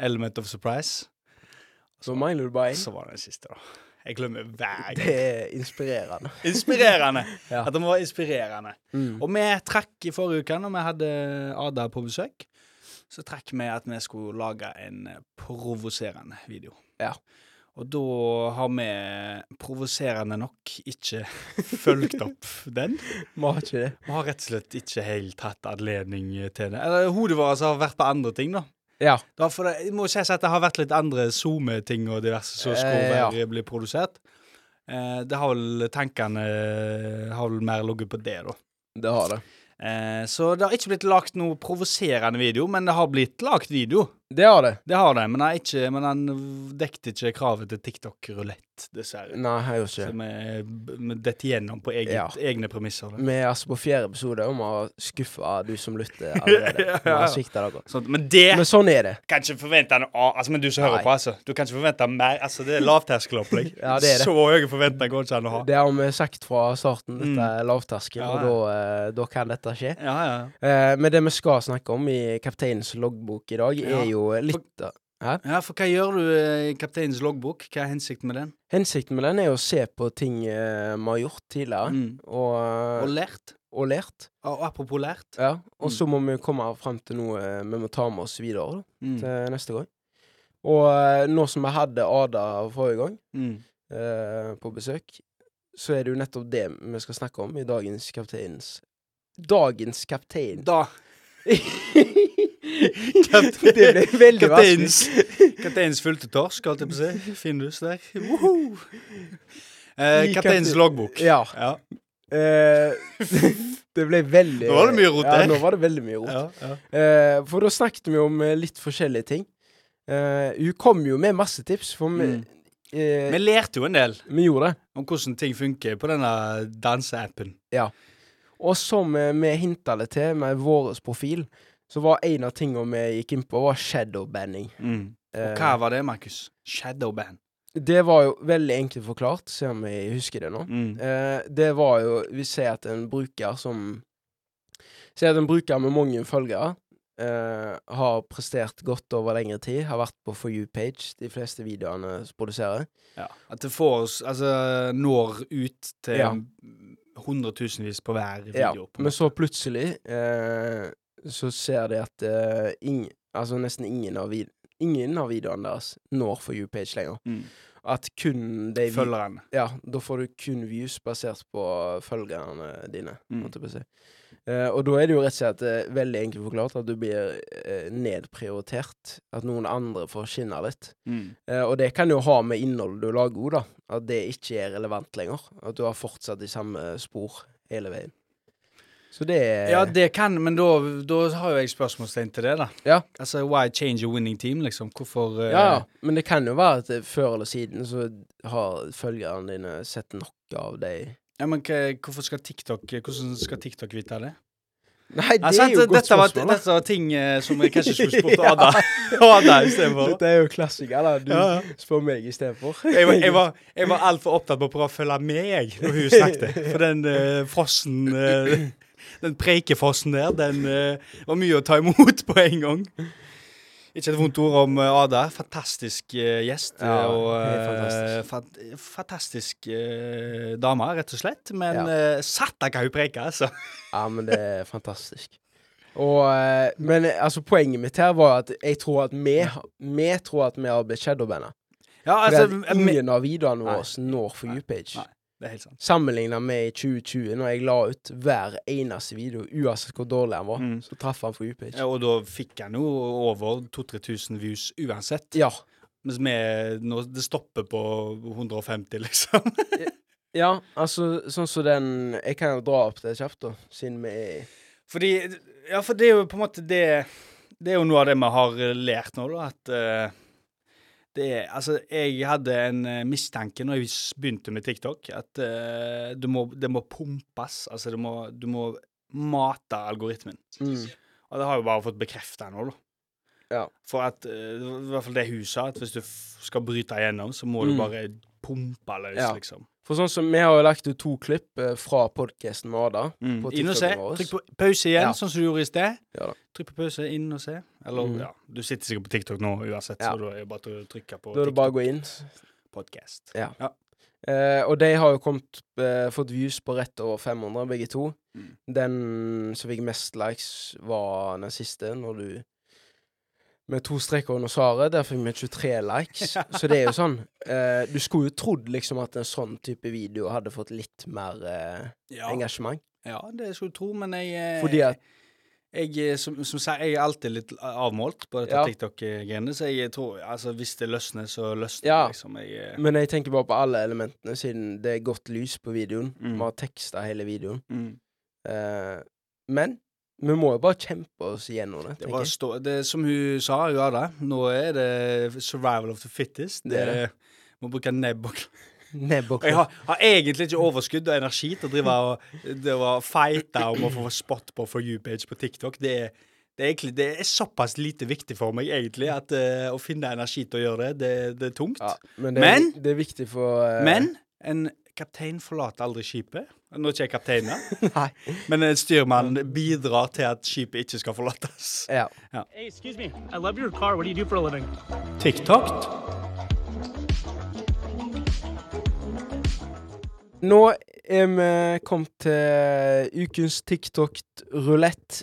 [SPEAKER 1] element of surprise.
[SPEAKER 2] Så mangler du bare én.
[SPEAKER 1] Så var det den siste, da. Jeg glemmer hver gang.
[SPEAKER 2] Det er inspirerende.
[SPEAKER 1] Inspirerende!
[SPEAKER 2] Ja.
[SPEAKER 1] At den var inspirerende.
[SPEAKER 2] Mm.
[SPEAKER 1] Og vi trakk i forrige uke, når vi hadde Ada på besøk, så trakk vi at vi skulle lage en provoserende video.
[SPEAKER 2] Ja.
[SPEAKER 1] Og da har vi provoserende nok ikke fulgt opp den.
[SPEAKER 2] Vi har ikke det.
[SPEAKER 1] Vi har rett og slett ikke helt hatt anledning til det. Eller hodet vårt har vært på andre ting, da.
[SPEAKER 2] Ja.
[SPEAKER 1] Da for det, jeg må si at det har vært litt andre SoMe-ting og diverse som skulle
[SPEAKER 2] Eh, ja.
[SPEAKER 1] være- bli produsert. Eh, det har vel tankene har vel mer ligget på det, da.
[SPEAKER 2] Det har det.
[SPEAKER 1] Eh, så det har ikke blitt lagt noe provoserende video, men det har blitt lagt video.
[SPEAKER 2] Det har det.
[SPEAKER 1] Det har det, men han, er ikke, men han dekket ikke kravet til TikTok-rulett, dessverre.
[SPEAKER 2] Nei, jeg gjør
[SPEAKER 1] Så
[SPEAKER 2] Mm, ikke det.
[SPEAKER 1] vi, vi detter gjennom på eget,
[SPEAKER 2] Ja.
[SPEAKER 1] egne premisser. Da.
[SPEAKER 2] Vi er altså på fjerde episode om å skuffe du som lytter allerede.
[SPEAKER 1] Ja, ja,
[SPEAKER 2] Vi
[SPEAKER 1] ja.
[SPEAKER 2] har svikta dere.
[SPEAKER 1] Så, men det
[SPEAKER 2] Men sånn er det.
[SPEAKER 1] kan ikke forvente noe av altså, Men du som
[SPEAKER 2] Nei.
[SPEAKER 1] hører på, altså. Du kan ikke forvente mer. Altså, det er lavterskelopplegg.
[SPEAKER 2] Ja, det er det.
[SPEAKER 1] Så høye forventninger går det ikke an å ha.
[SPEAKER 2] Det har vi sagt fra starten. Dette er lavterskel,
[SPEAKER 1] Mm. Ja, ja.
[SPEAKER 2] og da, eh, da kan dette skje.
[SPEAKER 1] Ja, ja.
[SPEAKER 2] Eh, Men det vi skal snakke om i Kapteinens loggbok i dag,
[SPEAKER 1] Ja.
[SPEAKER 2] er jo litt av
[SPEAKER 1] ja, for hva gjør du eh, i kapteinens loggbok? Hva er hensikten med den?
[SPEAKER 2] Hensikten med den er å se på ting eh, vi har gjort tidligere,
[SPEAKER 1] Mm.
[SPEAKER 2] og, eh,
[SPEAKER 1] Og lært? Mm.
[SPEAKER 2] og lært.
[SPEAKER 1] Og apropos lært.
[SPEAKER 2] Ja. Og så må vi komme frem til noe eh, vi må ta med oss videre da,
[SPEAKER 1] Mm.
[SPEAKER 2] til neste gang. Og eh, nå som vi hadde Ada forrige gang
[SPEAKER 1] Mm.
[SPEAKER 2] eh, på besøk, så er det jo nettopp det vi skal snakke om i dagens Kapteinens Dagens kaptein.
[SPEAKER 1] Da
[SPEAKER 2] det ble veldig
[SPEAKER 1] Kapteinens
[SPEAKER 2] vanskelig.
[SPEAKER 1] Kapteinens fulgte torsk, holdt jeg på å si. Findus der. Woho! Eh,
[SPEAKER 2] Ny
[SPEAKER 1] kapteinens
[SPEAKER 2] kaptein.
[SPEAKER 1] loggbok.
[SPEAKER 2] Ja.
[SPEAKER 1] Ja.
[SPEAKER 2] Eh, det ble veldig
[SPEAKER 1] Nå var det mye rot
[SPEAKER 2] Ja,
[SPEAKER 1] der.
[SPEAKER 2] nå var det veldig mye rot.
[SPEAKER 1] Ja, ja.
[SPEAKER 2] Eh, for da snakket vi om eh, litt forskjellige ting. Eh, hun kom jo med masse tips, for vi,
[SPEAKER 1] Mm.
[SPEAKER 2] eh,
[SPEAKER 1] Vi lærte jo en del
[SPEAKER 2] vi gjorde det.
[SPEAKER 1] om hvordan ting funker på denne danseappen.
[SPEAKER 2] Og som eh, vi hinta litt til med vår profil, så var en av tingene vi gikk inn på, var shadowbanning.
[SPEAKER 1] Mm. Og
[SPEAKER 2] Eh.
[SPEAKER 1] hva var det, Markus? Shadowband.
[SPEAKER 2] Det var jo veldig enkelt forklart, se om jeg husker det nå.
[SPEAKER 1] Mm.
[SPEAKER 2] Eh, det var jo Vi ser at en bruker som Ser at en bruker med mange følgere eh, har prestert godt over lengre tid, har vært på For you-page, de fleste videoene som produserer.
[SPEAKER 1] Ja. At det får oss Altså når ut til
[SPEAKER 2] Ja.
[SPEAKER 1] hundretusenvis på hver
[SPEAKER 2] Ja,
[SPEAKER 1] video. på en
[SPEAKER 2] men
[SPEAKER 1] måte.
[SPEAKER 2] så plutselig eh, så ser de at eh, ing, altså nesten ingen av, vid ingen av videoene deres når For you-page lenger.
[SPEAKER 1] Mm.
[SPEAKER 2] At kun de vi-
[SPEAKER 1] Følgeren.
[SPEAKER 2] Ja, da får du kun views basert på følgerne dine.
[SPEAKER 1] Mm.
[SPEAKER 2] Måtte jeg på si. Eh, og da er det jo rett og slett eh, veldig enkelt forklart at du blir eh, nedprioritert. At noen andre får skinne litt. Eh, og det kan jo ha med innholdet du lager òg, da. At det ikke er relevant lenger. At du har fortsatt i samme spor hele veien. Så det er
[SPEAKER 1] Ja, det kan, men da, da har jo jeg spørsmålstegn til det, da.
[SPEAKER 2] Ja.
[SPEAKER 1] Altså, why change a winning team, liksom? Hvorfor eh,
[SPEAKER 2] Ja, ja. men det kan jo være at eh, før eller siden så har følgerne dine sett nok av deg.
[SPEAKER 1] Ja, men hva- hvorfor skal TikTok Hvordan skal TikTok vite det?
[SPEAKER 2] Nei, det
[SPEAKER 1] Ja, sant,
[SPEAKER 2] er jo et godt
[SPEAKER 1] Altså, dette, var,
[SPEAKER 2] spørsmål. da.
[SPEAKER 1] dette var ting eh, som jeg kanskje skulle spurt Ada Ada istedenfor.
[SPEAKER 2] Dette er jo klassiker, da. Du
[SPEAKER 1] Ja, ja.
[SPEAKER 2] spør meg istedenfor.
[SPEAKER 1] Jeg var, jeg var, jeg var altfor opptatt med å prøve å følge med jeg, når hun snakket. For den eh, frossen eh, Den preikefossen der, den eh, var mye å ta imot på en gang. Ikke et vondt ord om eh, Ada. Fantastisk eh, gjest. eh,
[SPEAKER 2] Ja,
[SPEAKER 1] og
[SPEAKER 2] helt
[SPEAKER 1] eh, fant- fantastisk eh, dame, rett og slett. Men
[SPEAKER 2] Ja.
[SPEAKER 1] eh, satta hva hun preiker, altså.
[SPEAKER 2] Ja, men det er fantastisk. Og, eh, men eh, altså, poenget mitt her var at jeg tror at vi, vi tror at vi har blitt shadowbanda.
[SPEAKER 1] Ja,
[SPEAKER 2] Altså,
[SPEAKER 1] altså me-
[SPEAKER 2] ingen av videoene
[SPEAKER 1] Nei.
[SPEAKER 2] våre når for YouPage.
[SPEAKER 1] Nei. Det er helt sant.
[SPEAKER 2] Sammenligna med i 2020, når jeg la ut hver eneste video, uansett hvor dårlig han var,
[SPEAKER 1] Mm.
[SPEAKER 2] så traff han for YouPage.
[SPEAKER 1] Ja, og da fikk han jo over 2000-3000 views uansett.
[SPEAKER 2] Ja.
[SPEAKER 1] Mens vi nå, det stopper på 150, liksom.
[SPEAKER 2] ja, altså sånn som den Jeg kan jo dra opp det kjapt, da, siden vi er
[SPEAKER 1] Fordi Ja, for det er jo på en måte det Det er jo noe av det vi har eh, lært nå, da, at eh, det er Altså, jeg hadde en eh, mistanke når jeg s- begynte med TikTok, at eh, det, må, det må pumpes. Altså, det må, du må mate algoritmen.
[SPEAKER 2] mm.
[SPEAKER 1] Og det har jeg jo bare fått bekrefta nå, da.
[SPEAKER 2] Ja.
[SPEAKER 1] For at eh, det var I hvert fall det hun sa, at hvis du f skal bryte igjennom, så må du
[SPEAKER 2] Mm.
[SPEAKER 1] bare pumpe løs,
[SPEAKER 2] Ja.
[SPEAKER 1] liksom.
[SPEAKER 2] For sånn som Vi har jo lagt ut to klipp eh, fra podkasten med Ada.
[SPEAKER 1] Mm.
[SPEAKER 2] på
[SPEAKER 1] Inn og se.
[SPEAKER 2] TikToken vår.
[SPEAKER 1] Trykk på pause igjen,
[SPEAKER 2] Ja.
[SPEAKER 1] sånn som du gjorde i sted.
[SPEAKER 2] Ja da.
[SPEAKER 1] Trykk på pause, inn og se. Eller
[SPEAKER 2] Mm.
[SPEAKER 1] ja, du sitter sikkert på TikTok nå uansett,
[SPEAKER 2] Ja.
[SPEAKER 1] så da er det bare å trykke på
[SPEAKER 2] Da er det bare å gå inn.
[SPEAKER 1] TikTok-podkast.
[SPEAKER 2] Ja. Eh, og de har jo kommet, eh, fått views på rett over 500, begge to.
[SPEAKER 1] Mm.
[SPEAKER 2] Den som fikk mest likes, var den siste, når du Med to streker under svaret. Der fikk vi 23 likes. Så det er jo sånn. Eh, du skulle jo trodd liksom at en sånn type video hadde fått litt mer eh,
[SPEAKER 1] Ja.
[SPEAKER 2] engasjement.
[SPEAKER 1] ja, det skulle du tro, men jeg eh,
[SPEAKER 2] Fordi at
[SPEAKER 1] Jeg, eh, som, som sagt, jeg er alltid litt avmålt på dette
[SPEAKER 2] Ja.
[SPEAKER 1] TikTok-greiene, så jeg tror altså, hvis det løsner, så løsner det,
[SPEAKER 2] Ja.
[SPEAKER 1] liksom. Jeg, eh,
[SPEAKER 2] Men jeg tenker bare på alle elementene, siden det er godt lys på videoen.
[SPEAKER 1] Mm.
[SPEAKER 2] Vi har teksta hele videoen.
[SPEAKER 1] mm.
[SPEAKER 2] Eh, men Vi må jo bare kjempe oss gjennom det.
[SPEAKER 1] Det,
[SPEAKER 2] tenker
[SPEAKER 1] bare
[SPEAKER 2] jeg.
[SPEAKER 1] står- det Som hun sa, hun hadde, nå er det survival of the fittest.
[SPEAKER 2] Det er det.
[SPEAKER 1] Må bruke nebb og
[SPEAKER 2] Nebb og
[SPEAKER 1] Og Jeg har, har egentlig ikke overskudd og energi til å drive og det var fighte om å få spot på for you-page på TikTok. Det er, det, er egentlig, det er såpass lite viktig for meg, egentlig, at eh, å finne energi til å gjøre det, det, det er tungt.
[SPEAKER 2] Ja, eh. men, det er,
[SPEAKER 1] Men-
[SPEAKER 2] det er viktig for eh,
[SPEAKER 1] Men en kaptein forlater aldri skipet. Nå er ikke jeg kaptein, da,
[SPEAKER 2] Nei.
[SPEAKER 1] men en styrmann bidrar til at skipet ikke skal forlates.
[SPEAKER 2] Ja.
[SPEAKER 9] Hey, excuse me. I love your car. What do you do for a living?
[SPEAKER 1] TikTok?
[SPEAKER 2] Nå er vi kommet til ukens TikTok-rulett.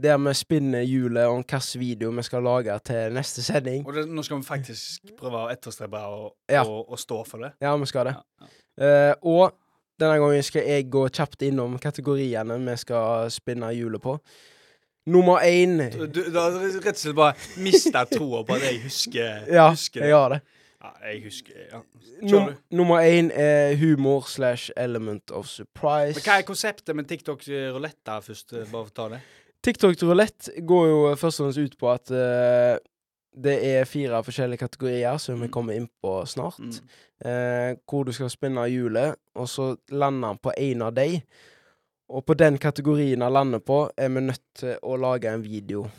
[SPEAKER 2] Der vi spinner hjulet om hvilken video vi skal lage til neste sending.
[SPEAKER 1] Og det, nå skal vi faktisk prøve å etterstrebe å
[SPEAKER 2] Ja.
[SPEAKER 1] å- å stå for det.
[SPEAKER 2] Ja, vi skal det. Eh, og denne gangen skal jeg gå kjapt innom kategoriene vi skal spinne hjulet på. Nummer én
[SPEAKER 1] Du, du du har rett og slett bare mista troa på at jeg husker,
[SPEAKER 2] Ja,
[SPEAKER 1] husker
[SPEAKER 2] jeg har det.
[SPEAKER 1] Ja, jeg husker ja. Kjør
[SPEAKER 2] Num
[SPEAKER 1] du.
[SPEAKER 2] nummer én er humor slash element of surprise.
[SPEAKER 1] Men Hva er konseptet med TikTok-ruletta først? eh, Bare for å ta det.
[SPEAKER 2] TikTok roulette går jo først og fremst ut på at eh, det er fire forskjellige kategorier som vi
[SPEAKER 1] Mm.
[SPEAKER 2] kommer inn på snart. eh, hvor du skal spinne hjulet, og så lander han på én av deg. Og på den kategorien han lander på, er vi nødt til å lage en video.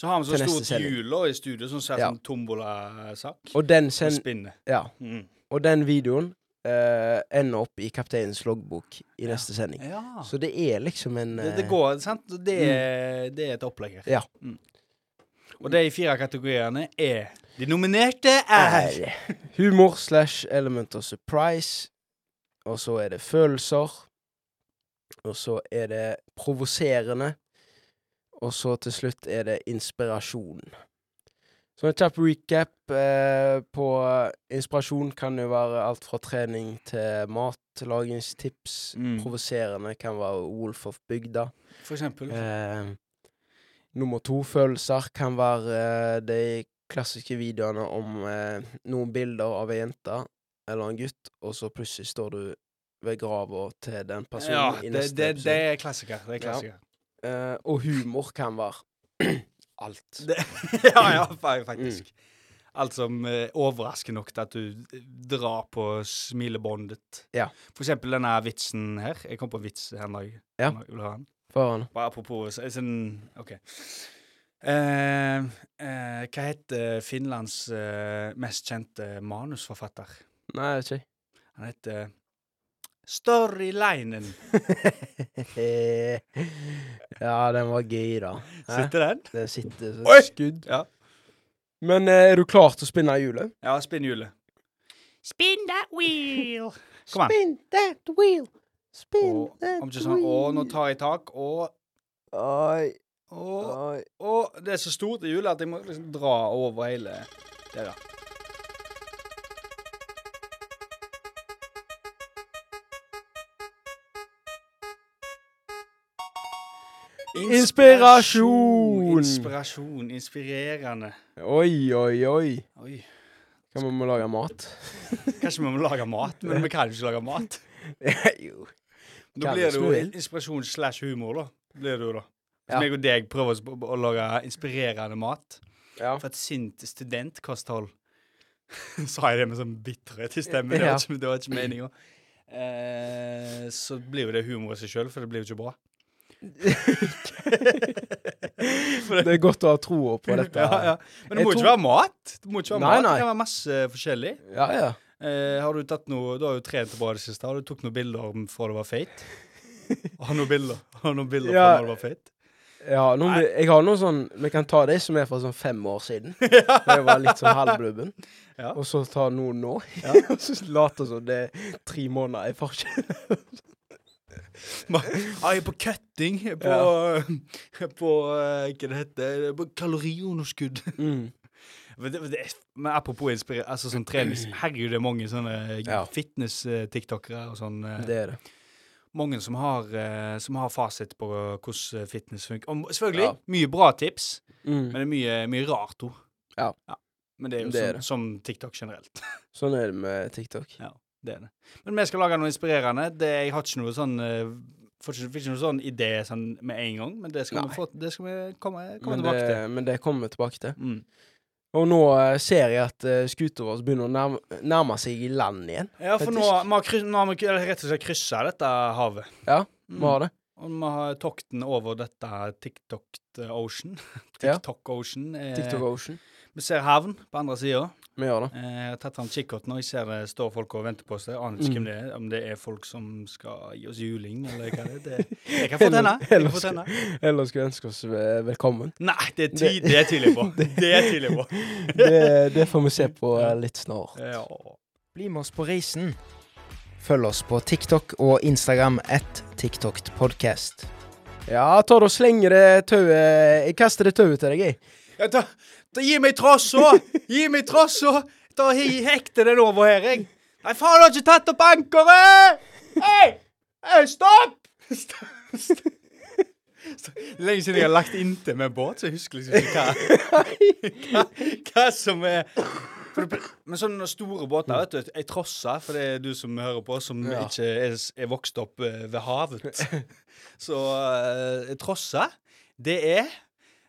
[SPEAKER 1] Så har vi så
[SPEAKER 2] Til neste
[SPEAKER 1] stort
[SPEAKER 2] sending.
[SPEAKER 1] hjul da i studio sånn som ser ut
[SPEAKER 2] Ja.
[SPEAKER 1] som tombolasak.
[SPEAKER 2] Og den,
[SPEAKER 1] Som
[SPEAKER 2] sen
[SPEAKER 1] spinner.
[SPEAKER 2] ja,
[SPEAKER 1] Mm.
[SPEAKER 2] og den videoen eh, ender opp i Kapteinens loggbok i neste sending.
[SPEAKER 1] Ja.
[SPEAKER 2] Så det er liksom en
[SPEAKER 1] Det, det
[SPEAKER 2] eh,
[SPEAKER 1] går, sant? Det er, det er et opplegg her.
[SPEAKER 2] Ja.
[SPEAKER 1] Mm. Og de fire kategoriene er De nominerte er
[SPEAKER 2] er humor slash element of surprise. Og så er det følelser. Og så er det provoserende. Og så til slutt er det inspirasjon. Så en kjapp recap eh, på inspirasjon kan jo være alt fra trening til matlagingstips.
[SPEAKER 1] Mm.
[SPEAKER 2] Provoserende kan være Wolf of Bygda.
[SPEAKER 1] For eksempel.
[SPEAKER 2] Eh, nummer to-følelser kan være eh, de klassiske videoene om eh, noen bilder av ei jente eller en gutt, og så plutselig står du ved grava til den personen
[SPEAKER 1] Ja,
[SPEAKER 2] i
[SPEAKER 1] det,
[SPEAKER 2] neste
[SPEAKER 1] det, det
[SPEAKER 2] episode.
[SPEAKER 1] er klassiker. Det er
[SPEAKER 2] Ja.
[SPEAKER 1] klassiker.
[SPEAKER 2] Eh, og humor kan være alt.
[SPEAKER 1] Det, ja, ja,
[SPEAKER 2] Mm.
[SPEAKER 1] fa- faktisk. Alt som eh, overrasker nok til at du eh, drar på smilebåndet.
[SPEAKER 2] Ja.
[SPEAKER 1] For eksempel denne vitsen her. Jeg kom på en vits her en dag.
[SPEAKER 2] Ja.
[SPEAKER 1] Vil du ha den?
[SPEAKER 2] Foran.
[SPEAKER 1] Bare apropos så- sånn, OK. Eh, eh, hva heter Finlands eh, mest kjente manusforfatter?
[SPEAKER 2] Nei, jeg vet
[SPEAKER 1] Han heter Storyleinen.
[SPEAKER 2] ikke. Eh, ja, den var gøy, da. Hæ?
[SPEAKER 1] Sitter den?
[SPEAKER 2] Det sitter som
[SPEAKER 1] Oi!
[SPEAKER 2] et skudd.
[SPEAKER 1] Ja.
[SPEAKER 2] Men eh, er du klar til å spinne hjulet?
[SPEAKER 1] Ja, spinn hjulet.
[SPEAKER 3] Spin that wheel.
[SPEAKER 1] Kom an.
[SPEAKER 3] Spin that wheel. Spin
[SPEAKER 1] Og, om ikke sånn Å, nå tar jeg tak. Og
[SPEAKER 2] Oi,
[SPEAKER 1] Å
[SPEAKER 2] oi.
[SPEAKER 1] Og det er så stort i hjulet at jeg må liksom dra over hele Der, ja.
[SPEAKER 2] Inspirasjon!
[SPEAKER 1] Inspirasjon. Inspirerende.
[SPEAKER 2] Oi, oi, oi.
[SPEAKER 1] Oi.
[SPEAKER 2] Hva om vi må lage mat?
[SPEAKER 1] Kanskje vi må lage mat, men vi kan jo ikke lage mat.
[SPEAKER 2] jo.
[SPEAKER 1] Da
[SPEAKER 2] Kan
[SPEAKER 1] blir det
[SPEAKER 2] hvis vi
[SPEAKER 1] jo
[SPEAKER 2] vil.
[SPEAKER 1] inspirasjon slash humor, da. Blir det jo da. Hvis
[SPEAKER 2] Ja.
[SPEAKER 1] meg og deg prøver oss på- på å lage inspirerende mat
[SPEAKER 2] Ja.
[SPEAKER 1] For et sint studentkosthold. Sa jeg det med sånn bitterhet i stemmen? Det
[SPEAKER 2] Ja.
[SPEAKER 1] var ikke, det var ikke meninga. Eh, så blir jo det humor i seg sjøl, for det blir jo ikke bra.
[SPEAKER 2] Det er godt å ha troa på dette.
[SPEAKER 1] Ja, ja. Men det må
[SPEAKER 2] Jeg
[SPEAKER 1] jo ikke
[SPEAKER 2] tror-
[SPEAKER 1] være mat. Det må ikke være
[SPEAKER 2] Nei,
[SPEAKER 1] mat.
[SPEAKER 2] nei.
[SPEAKER 1] Det kan være masse forskjellig.
[SPEAKER 2] ja, ja.
[SPEAKER 1] Eh, har Du tatt noe, du har jo trent bra i det siste. Har du tok noen bilder om fra du var feit? Har du noen bilder Har du noen bilder
[SPEAKER 2] Ja.
[SPEAKER 1] fra da du var feit?
[SPEAKER 2] Ja, noen, jeg har noen sånn Vi kan ta de som er fra sånn fem år siden. Da jeg var litt sånn halvblubben.
[SPEAKER 1] Ja.
[SPEAKER 2] Og så ta noen nå. og så late som det er tre måneder i forskjell.
[SPEAKER 1] Ma- Ja, jeg er på cutting. jeg er På, på eh, Hva det heter jeg er På kaloriunderskudd. Men, det, men det, er- men apropos inspirere, altså sånn trenings Herregud, det er mange sånne eh,
[SPEAKER 2] Ja.
[SPEAKER 1] fitness-tiktokere og sånn. eh,
[SPEAKER 2] Det er det.
[SPEAKER 1] Mange som har, eh, som har fasit på hvordan eh, fitness funker. Og selvfølgelig,
[SPEAKER 2] Ja.
[SPEAKER 1] mye bra tips, men
[SPEAKER 2] Mm.
[SPEAKER 1] det er mye, mye rart òg.
[SPEAKER 2] Ja.
[SPEAKER 1] Men det er jo
[SPEAKER 2] Det
[SPEAKER 1] som,
[SPEAKER 2] er det.
[SPEAKER 1] som TikTok generelt.
[SPEAKER 2] Sånn er det med TikTok.
[SPEAKER 1] Det er det. Men vi skal lage noe inspirerende. Det, jeg har ikke noe sånn eh, Får ikke, får ikke noen sånn idé sånn med en gang, men det skal
[SPEAKER 2] Nei.
[SPEAKER 1] vi, få, det skal vi komme, komme
[SPEAKER 2] Men
[SPEAKER 1] tilbake
[SPEAKER 2] det,
[SPEAKER 1] til.
[SPEAKER 2] men det kommer vi tilbake til.
[SPEAKER 1] Mm.
[SPEAKER 2] Og nå eh, ser jeg at uh, skuta vår begynner å nærme, nærme seg i land igjen.
[SPEAKER 1] Ja, for nå,
[SPEAKER 2] Faktisk.
[SPEAKER 1] vi har kryss- nå har vi k- rett og slett kryssa dette havet.
[SPEAKER 2] Ja,
[SPEAKER 1] Mm.
[SPEAKER 2] vi har det.
[SPEAKER 1] Og vi har tokten over dette TikTok-ocean.
[SPEAKER 2] Ja.
[SPEAKER 1] TikTok-ocean. Eh,
[SPEAKER 2] TikTok Ocean.
[SPEAKER 1] Vi ser havn på andre sida.
[SPEAKER 2] Vi gjør det.
[SPEAKER 1] Eh, jeg har tatt fram kikkerten, og jeg ser det står folk og venter på oss. Jeg aner ikke
[SPEAKER 2] Mm.
[SPEAKER 1] hvem det er, om det er folk som skal gi oss juling, eller hva det er. Det, jeg kan fortelle. Jeg kan
[SPEAKER 2] Eller-
[SPEAKER 1] fortelle.
[SPEAKER 2] Ellers skulle jeg ønske oss eh, velkommen.
[SPEAKER 1] Nei, det er ty- det er jeg tydelig på. Det er jeg tydelig på.
[SPEAKER 2] Det, det får vi se på eh, litt snart.
[SPEAKER 1] Ja.
[SPEAKER 10] Bli med oss på reisen. Følg oss på TikTok og Instagram at TikTokpodcast.
[SPEAKER 2] Ja, ta det og slenge det tauet Jeg kaster det tauet til deg, jeg.
[SPEAKER 1] Ja, ta, ta, gi meg trossa! Gi meg trossa! Ta he- hekte den over her, jeg. Nei, faen, du har ikke tatt opp ankeret! Hei! Hei, stopp! Stopp, stopp. Lenge siden jeg har lagt inntil med båt, så jeg husker liksom ikke hva, hva, hva som er for det, Men sånne store båter, vet du, ei trosse, for det er du som hører på, som
[SPEAKER 2] Ja.
[SPEAKER 1] ikke er, s- er vokst opp eh, ved havet. Så eh, trosse, det er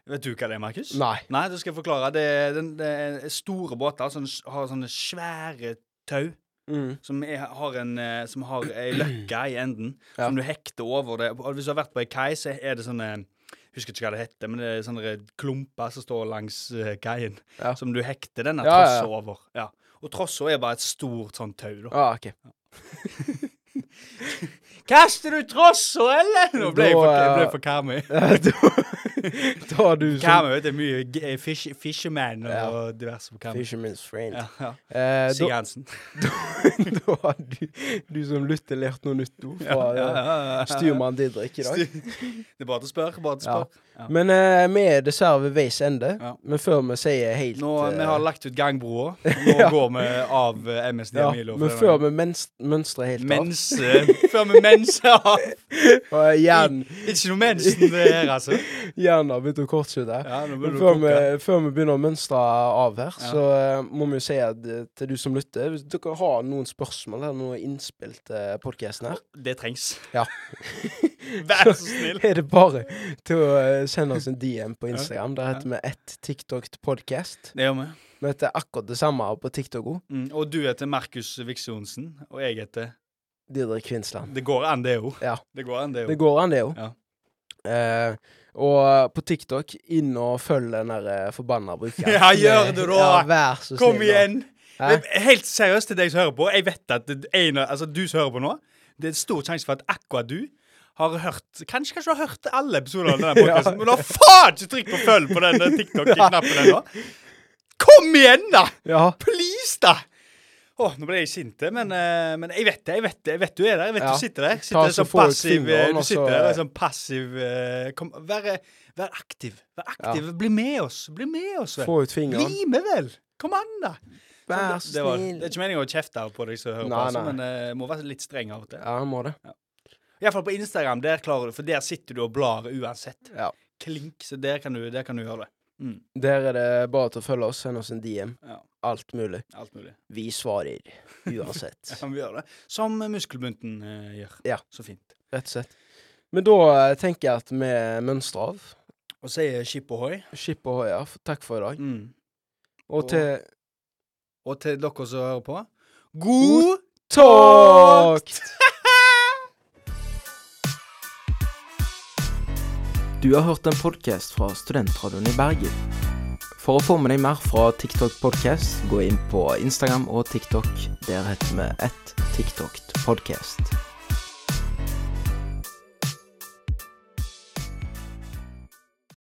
[SPEAKER 1] Vet du hva det er, Markus?
[SPEAKER 2] Nei.
[SPEAKER 1] Nei, det skal jeg forklare. Det er, den, det er store båter som s- har sånne svære tau.
[SPEAKER 2] Mm.
[SPEAKER 1] Som er, har en eh, Som har ei løkke i enden,
[SPEAKER 2] Ja.
[SPEAKER 1] som du hekter over det. Og hvis du har vært på ei kai, så er det sånne jeg husker ikke hva det heter, men det er sånne klumper som står langs eh, kaien,
[SPEAKER 2] Ja.
[SPEAKER 1] som du hekter denne
[SPEAKER 2] Ja, ja, ja.
[SPEAKER 1] trossa over. Ja. Og trossa er bare et stort sånn tau, da.
[SPEAKER 2] Ah, ok.
[SPEAKER 1] Kaster du trossa, eller?! Nå ble jeg for,
[SPEAKER 2] Da,
[SPEAKER 1] jeg ble
[SPEAKER 2] eh,
[SPEAKER 1] for Karmøy.
[SPEAKER 2] Eh, da, da har du som
[SPEAKER 1] Karmøy det er mye g- eh, fish, fisherman og
[SPEAKER 2] Ja.
[SPEAKER 1] diverse på Karmøy.
[SPEAKER 2] Fisherman's friend.
[SPEAKER 1] Ja, ja.
[SPEAKER 2] Eh,
[SPEAKER 1] Sig
[SPEAKER 2] da,
[SPEAKER 1] Hansen.
[SPEAKER 2] da har du, du som lytter, lært noe nytt ord fra
[SPEAKER 1] Ja, ja,
[SPEAKER 2] eh,
[SPEAKER 1] ja, ja.
[SPEAKER 2] styrmann Didrik i dag.
[SPEAKER 1] Det er bare til å spørre. Bare til å
[SPEAKER 2] Ja.
[SPEAKER 1] spørre. Ja.
[SPEAKER 2] Men eh, vi er dessverre ved veis ende.
[SPEAKER 1] Ja.
[SPEAKER 2] Men før vi sier helt
[SPEAKER 1] Nå,
[SPEAKER 2] eh,
[SPEAKER 1] vi har lagt ut gangbroa. Nå går vi av eh, MSD
[SPEAKER 2] ja,
[SPEAKER 1] Milo.
[SPEAKER 2] Men før vi mens- mønstrer helt
[SPEAKER 1] Mense. eh, Før vi menser av.
[SPEAKER 2] av Og hjernen,
[SPEAKER 1] Ikke noe mensen det her, altså.
[SPEAKER 2] hjernen har begynt å kortslutte.
[SPEAKER 1] Ja, nå
[SPEAKER 2] Men
[SPEAKER 1] burde du
[SPEAKER 2] Før vi,
[SPEAKER 1] koke.
[SPEAKER 2] før vi begynner å mønstre av her,
[SPEAKER 1] Ja.
[SPEAKER 2] så eh, må vi jo si at, eh, til du som lytter Hvis dere har noen spørsmål eller noe innspill til podkasten her,
[SPEAKER 1] Det trengs.
[SPEAKER 2] Ja.
[SPEAKER 1] Vær så snill.
[SPEAKER 2] er det bare til å eh, sende oss en DM på Instagram. Der heter vi ett TikTok-podkast.
[SPEAKER 1] Det gjør vi.
[SPEAKER 2] Vi heter akkurat det samme på TikTok òg.
[SPEAKER 1] Mm. Og du heter Markus Viksionsen, og jeg heter
[SPEAKER 2] Didrik Kvinsland.
[SPEAKER 1] Det går an, det òg.
[SPEAKER 2] Ja.
[SPEAKER 1] Det går an, det
[SPEAKER 2] Det
[SPEAKER 1] òg.
[SPEAKER 2] går an, det òg.
[SPEAKER 1] Ja.
[SPEAKER 2] Eh, og på TikTok, inn og følg den der eh, forbanna brukeren.
[SPEAKER 1] Ja, gjør det da!
[SPEAKER 2] Ja, vær så
[SPEAKER 1] Kom
[SPEAKER 2] snill, da.
[SPEAKER 1] igjen!
[SPEAKER 2] Hæ?
[SPEAKER 1] Det er Helt seriøst til deg som hører på. Jeg vet at det- en, av- altså, du som hører på nå, det er en stor sjanse for at akkurat du har hørt Kanskje, kanskje du har hørt alle episoder av denne podkasten, men du har faen ikke trykk på følg på den eh, TikTok-knappen ennå. Kom igjen, da!
[SPEAKER 2] Ja.
[SPEAKER 1] Please, da! Å, nå ble jeg sint, men, eh, men jeg vet det. Jeg vet det, jeg vet du er der. Jeg vet
[SPEAKER 2] Ja.
[SPEAKER 1] du sitter der.
[SPEAKER 2] Ta
[SPEAKER 1] Sitter der
[SPEAKER 2] så
[SPEAKER 1] som
[SPEAKER 2] få ut
[SPEAKER 1] passiv, eh,
[SPEAKER 2] fingeren,
[SPEAKER 1] du
[SPEAKER 2] og
[SPEAKER 1] sitter
[SPEAKER 2] så,
[SPEAKER 1] der
[SPEAKER 2] eh,
[SPEAKER 1] som passiv eh, kom, vær, eh, vær aktiv. Vær aktiv. Bli med oss. Bli med oss. vel.
[SPEAKER 2] Få ut fingeren.
[SPEAKER 1] Bli med, vel! Kom an, da! Sånn,
[SPEAKER 2] Vær
[SPEAKER 1] det,
[SPEAKER 2] så
[SPEAKER 1] det, var,
[SPEAKER 2] snill.
[SPEAKER 1] det er ikke meningen å kjefte på deg som hører på,
[SPEAKER 2] Nei,
[SPEAKER 1] altså,
[SPEAKER 2] nei.
[SPEAKER 1] men eh, jeg må være litt streng av og til.
[SPEAKER 2] Ja, han må det.
[SPEAKER 1] Iallfall på Instagram, der klarer du for der sitter du og blar uansett.
[SPEAKER 2] Ja.
[SPEAKER 1] Klink, så der kan du, der kan du gjøre det. Mm,
[SPEAKER 2] Der er det bare til å følge oss, sende oss en DM.
[SPEAKER 1] Ja.
[SPEAKER 2] Alt mulig.
[SPEAKER 1] alt mulig.
[SPEAKER 2] Vi svarer uansett.
[SPEAKER 1] Kan vi gjøre det? Som eh, muskelbunten eh, gjør.
[SPEAKER 2] Ja.
[SPEAKER 1] Så fint.
[SPEAKER 2] Rett og slett. Men da eh, tenker jeg at vi mønstrer av.
[SPEAKER 1] Og sier skip ohoi.
[SPEAKER 2] Skip og hoia, f- takk for i dag.
[SPEAKER 1] Mm.
[SPEAKER 2] Og til
[SPEAKER 1] Og til dere som hører på, god
[SPEAKER 2] takt!
[SPEAKER 10] Du har hørt en podkast fra Studentradioen i Bergen. For å få med deg mer fra TikTok Podcast, gå inn på Instagram og TikTok. Der heter vi ett TikTok Podcast.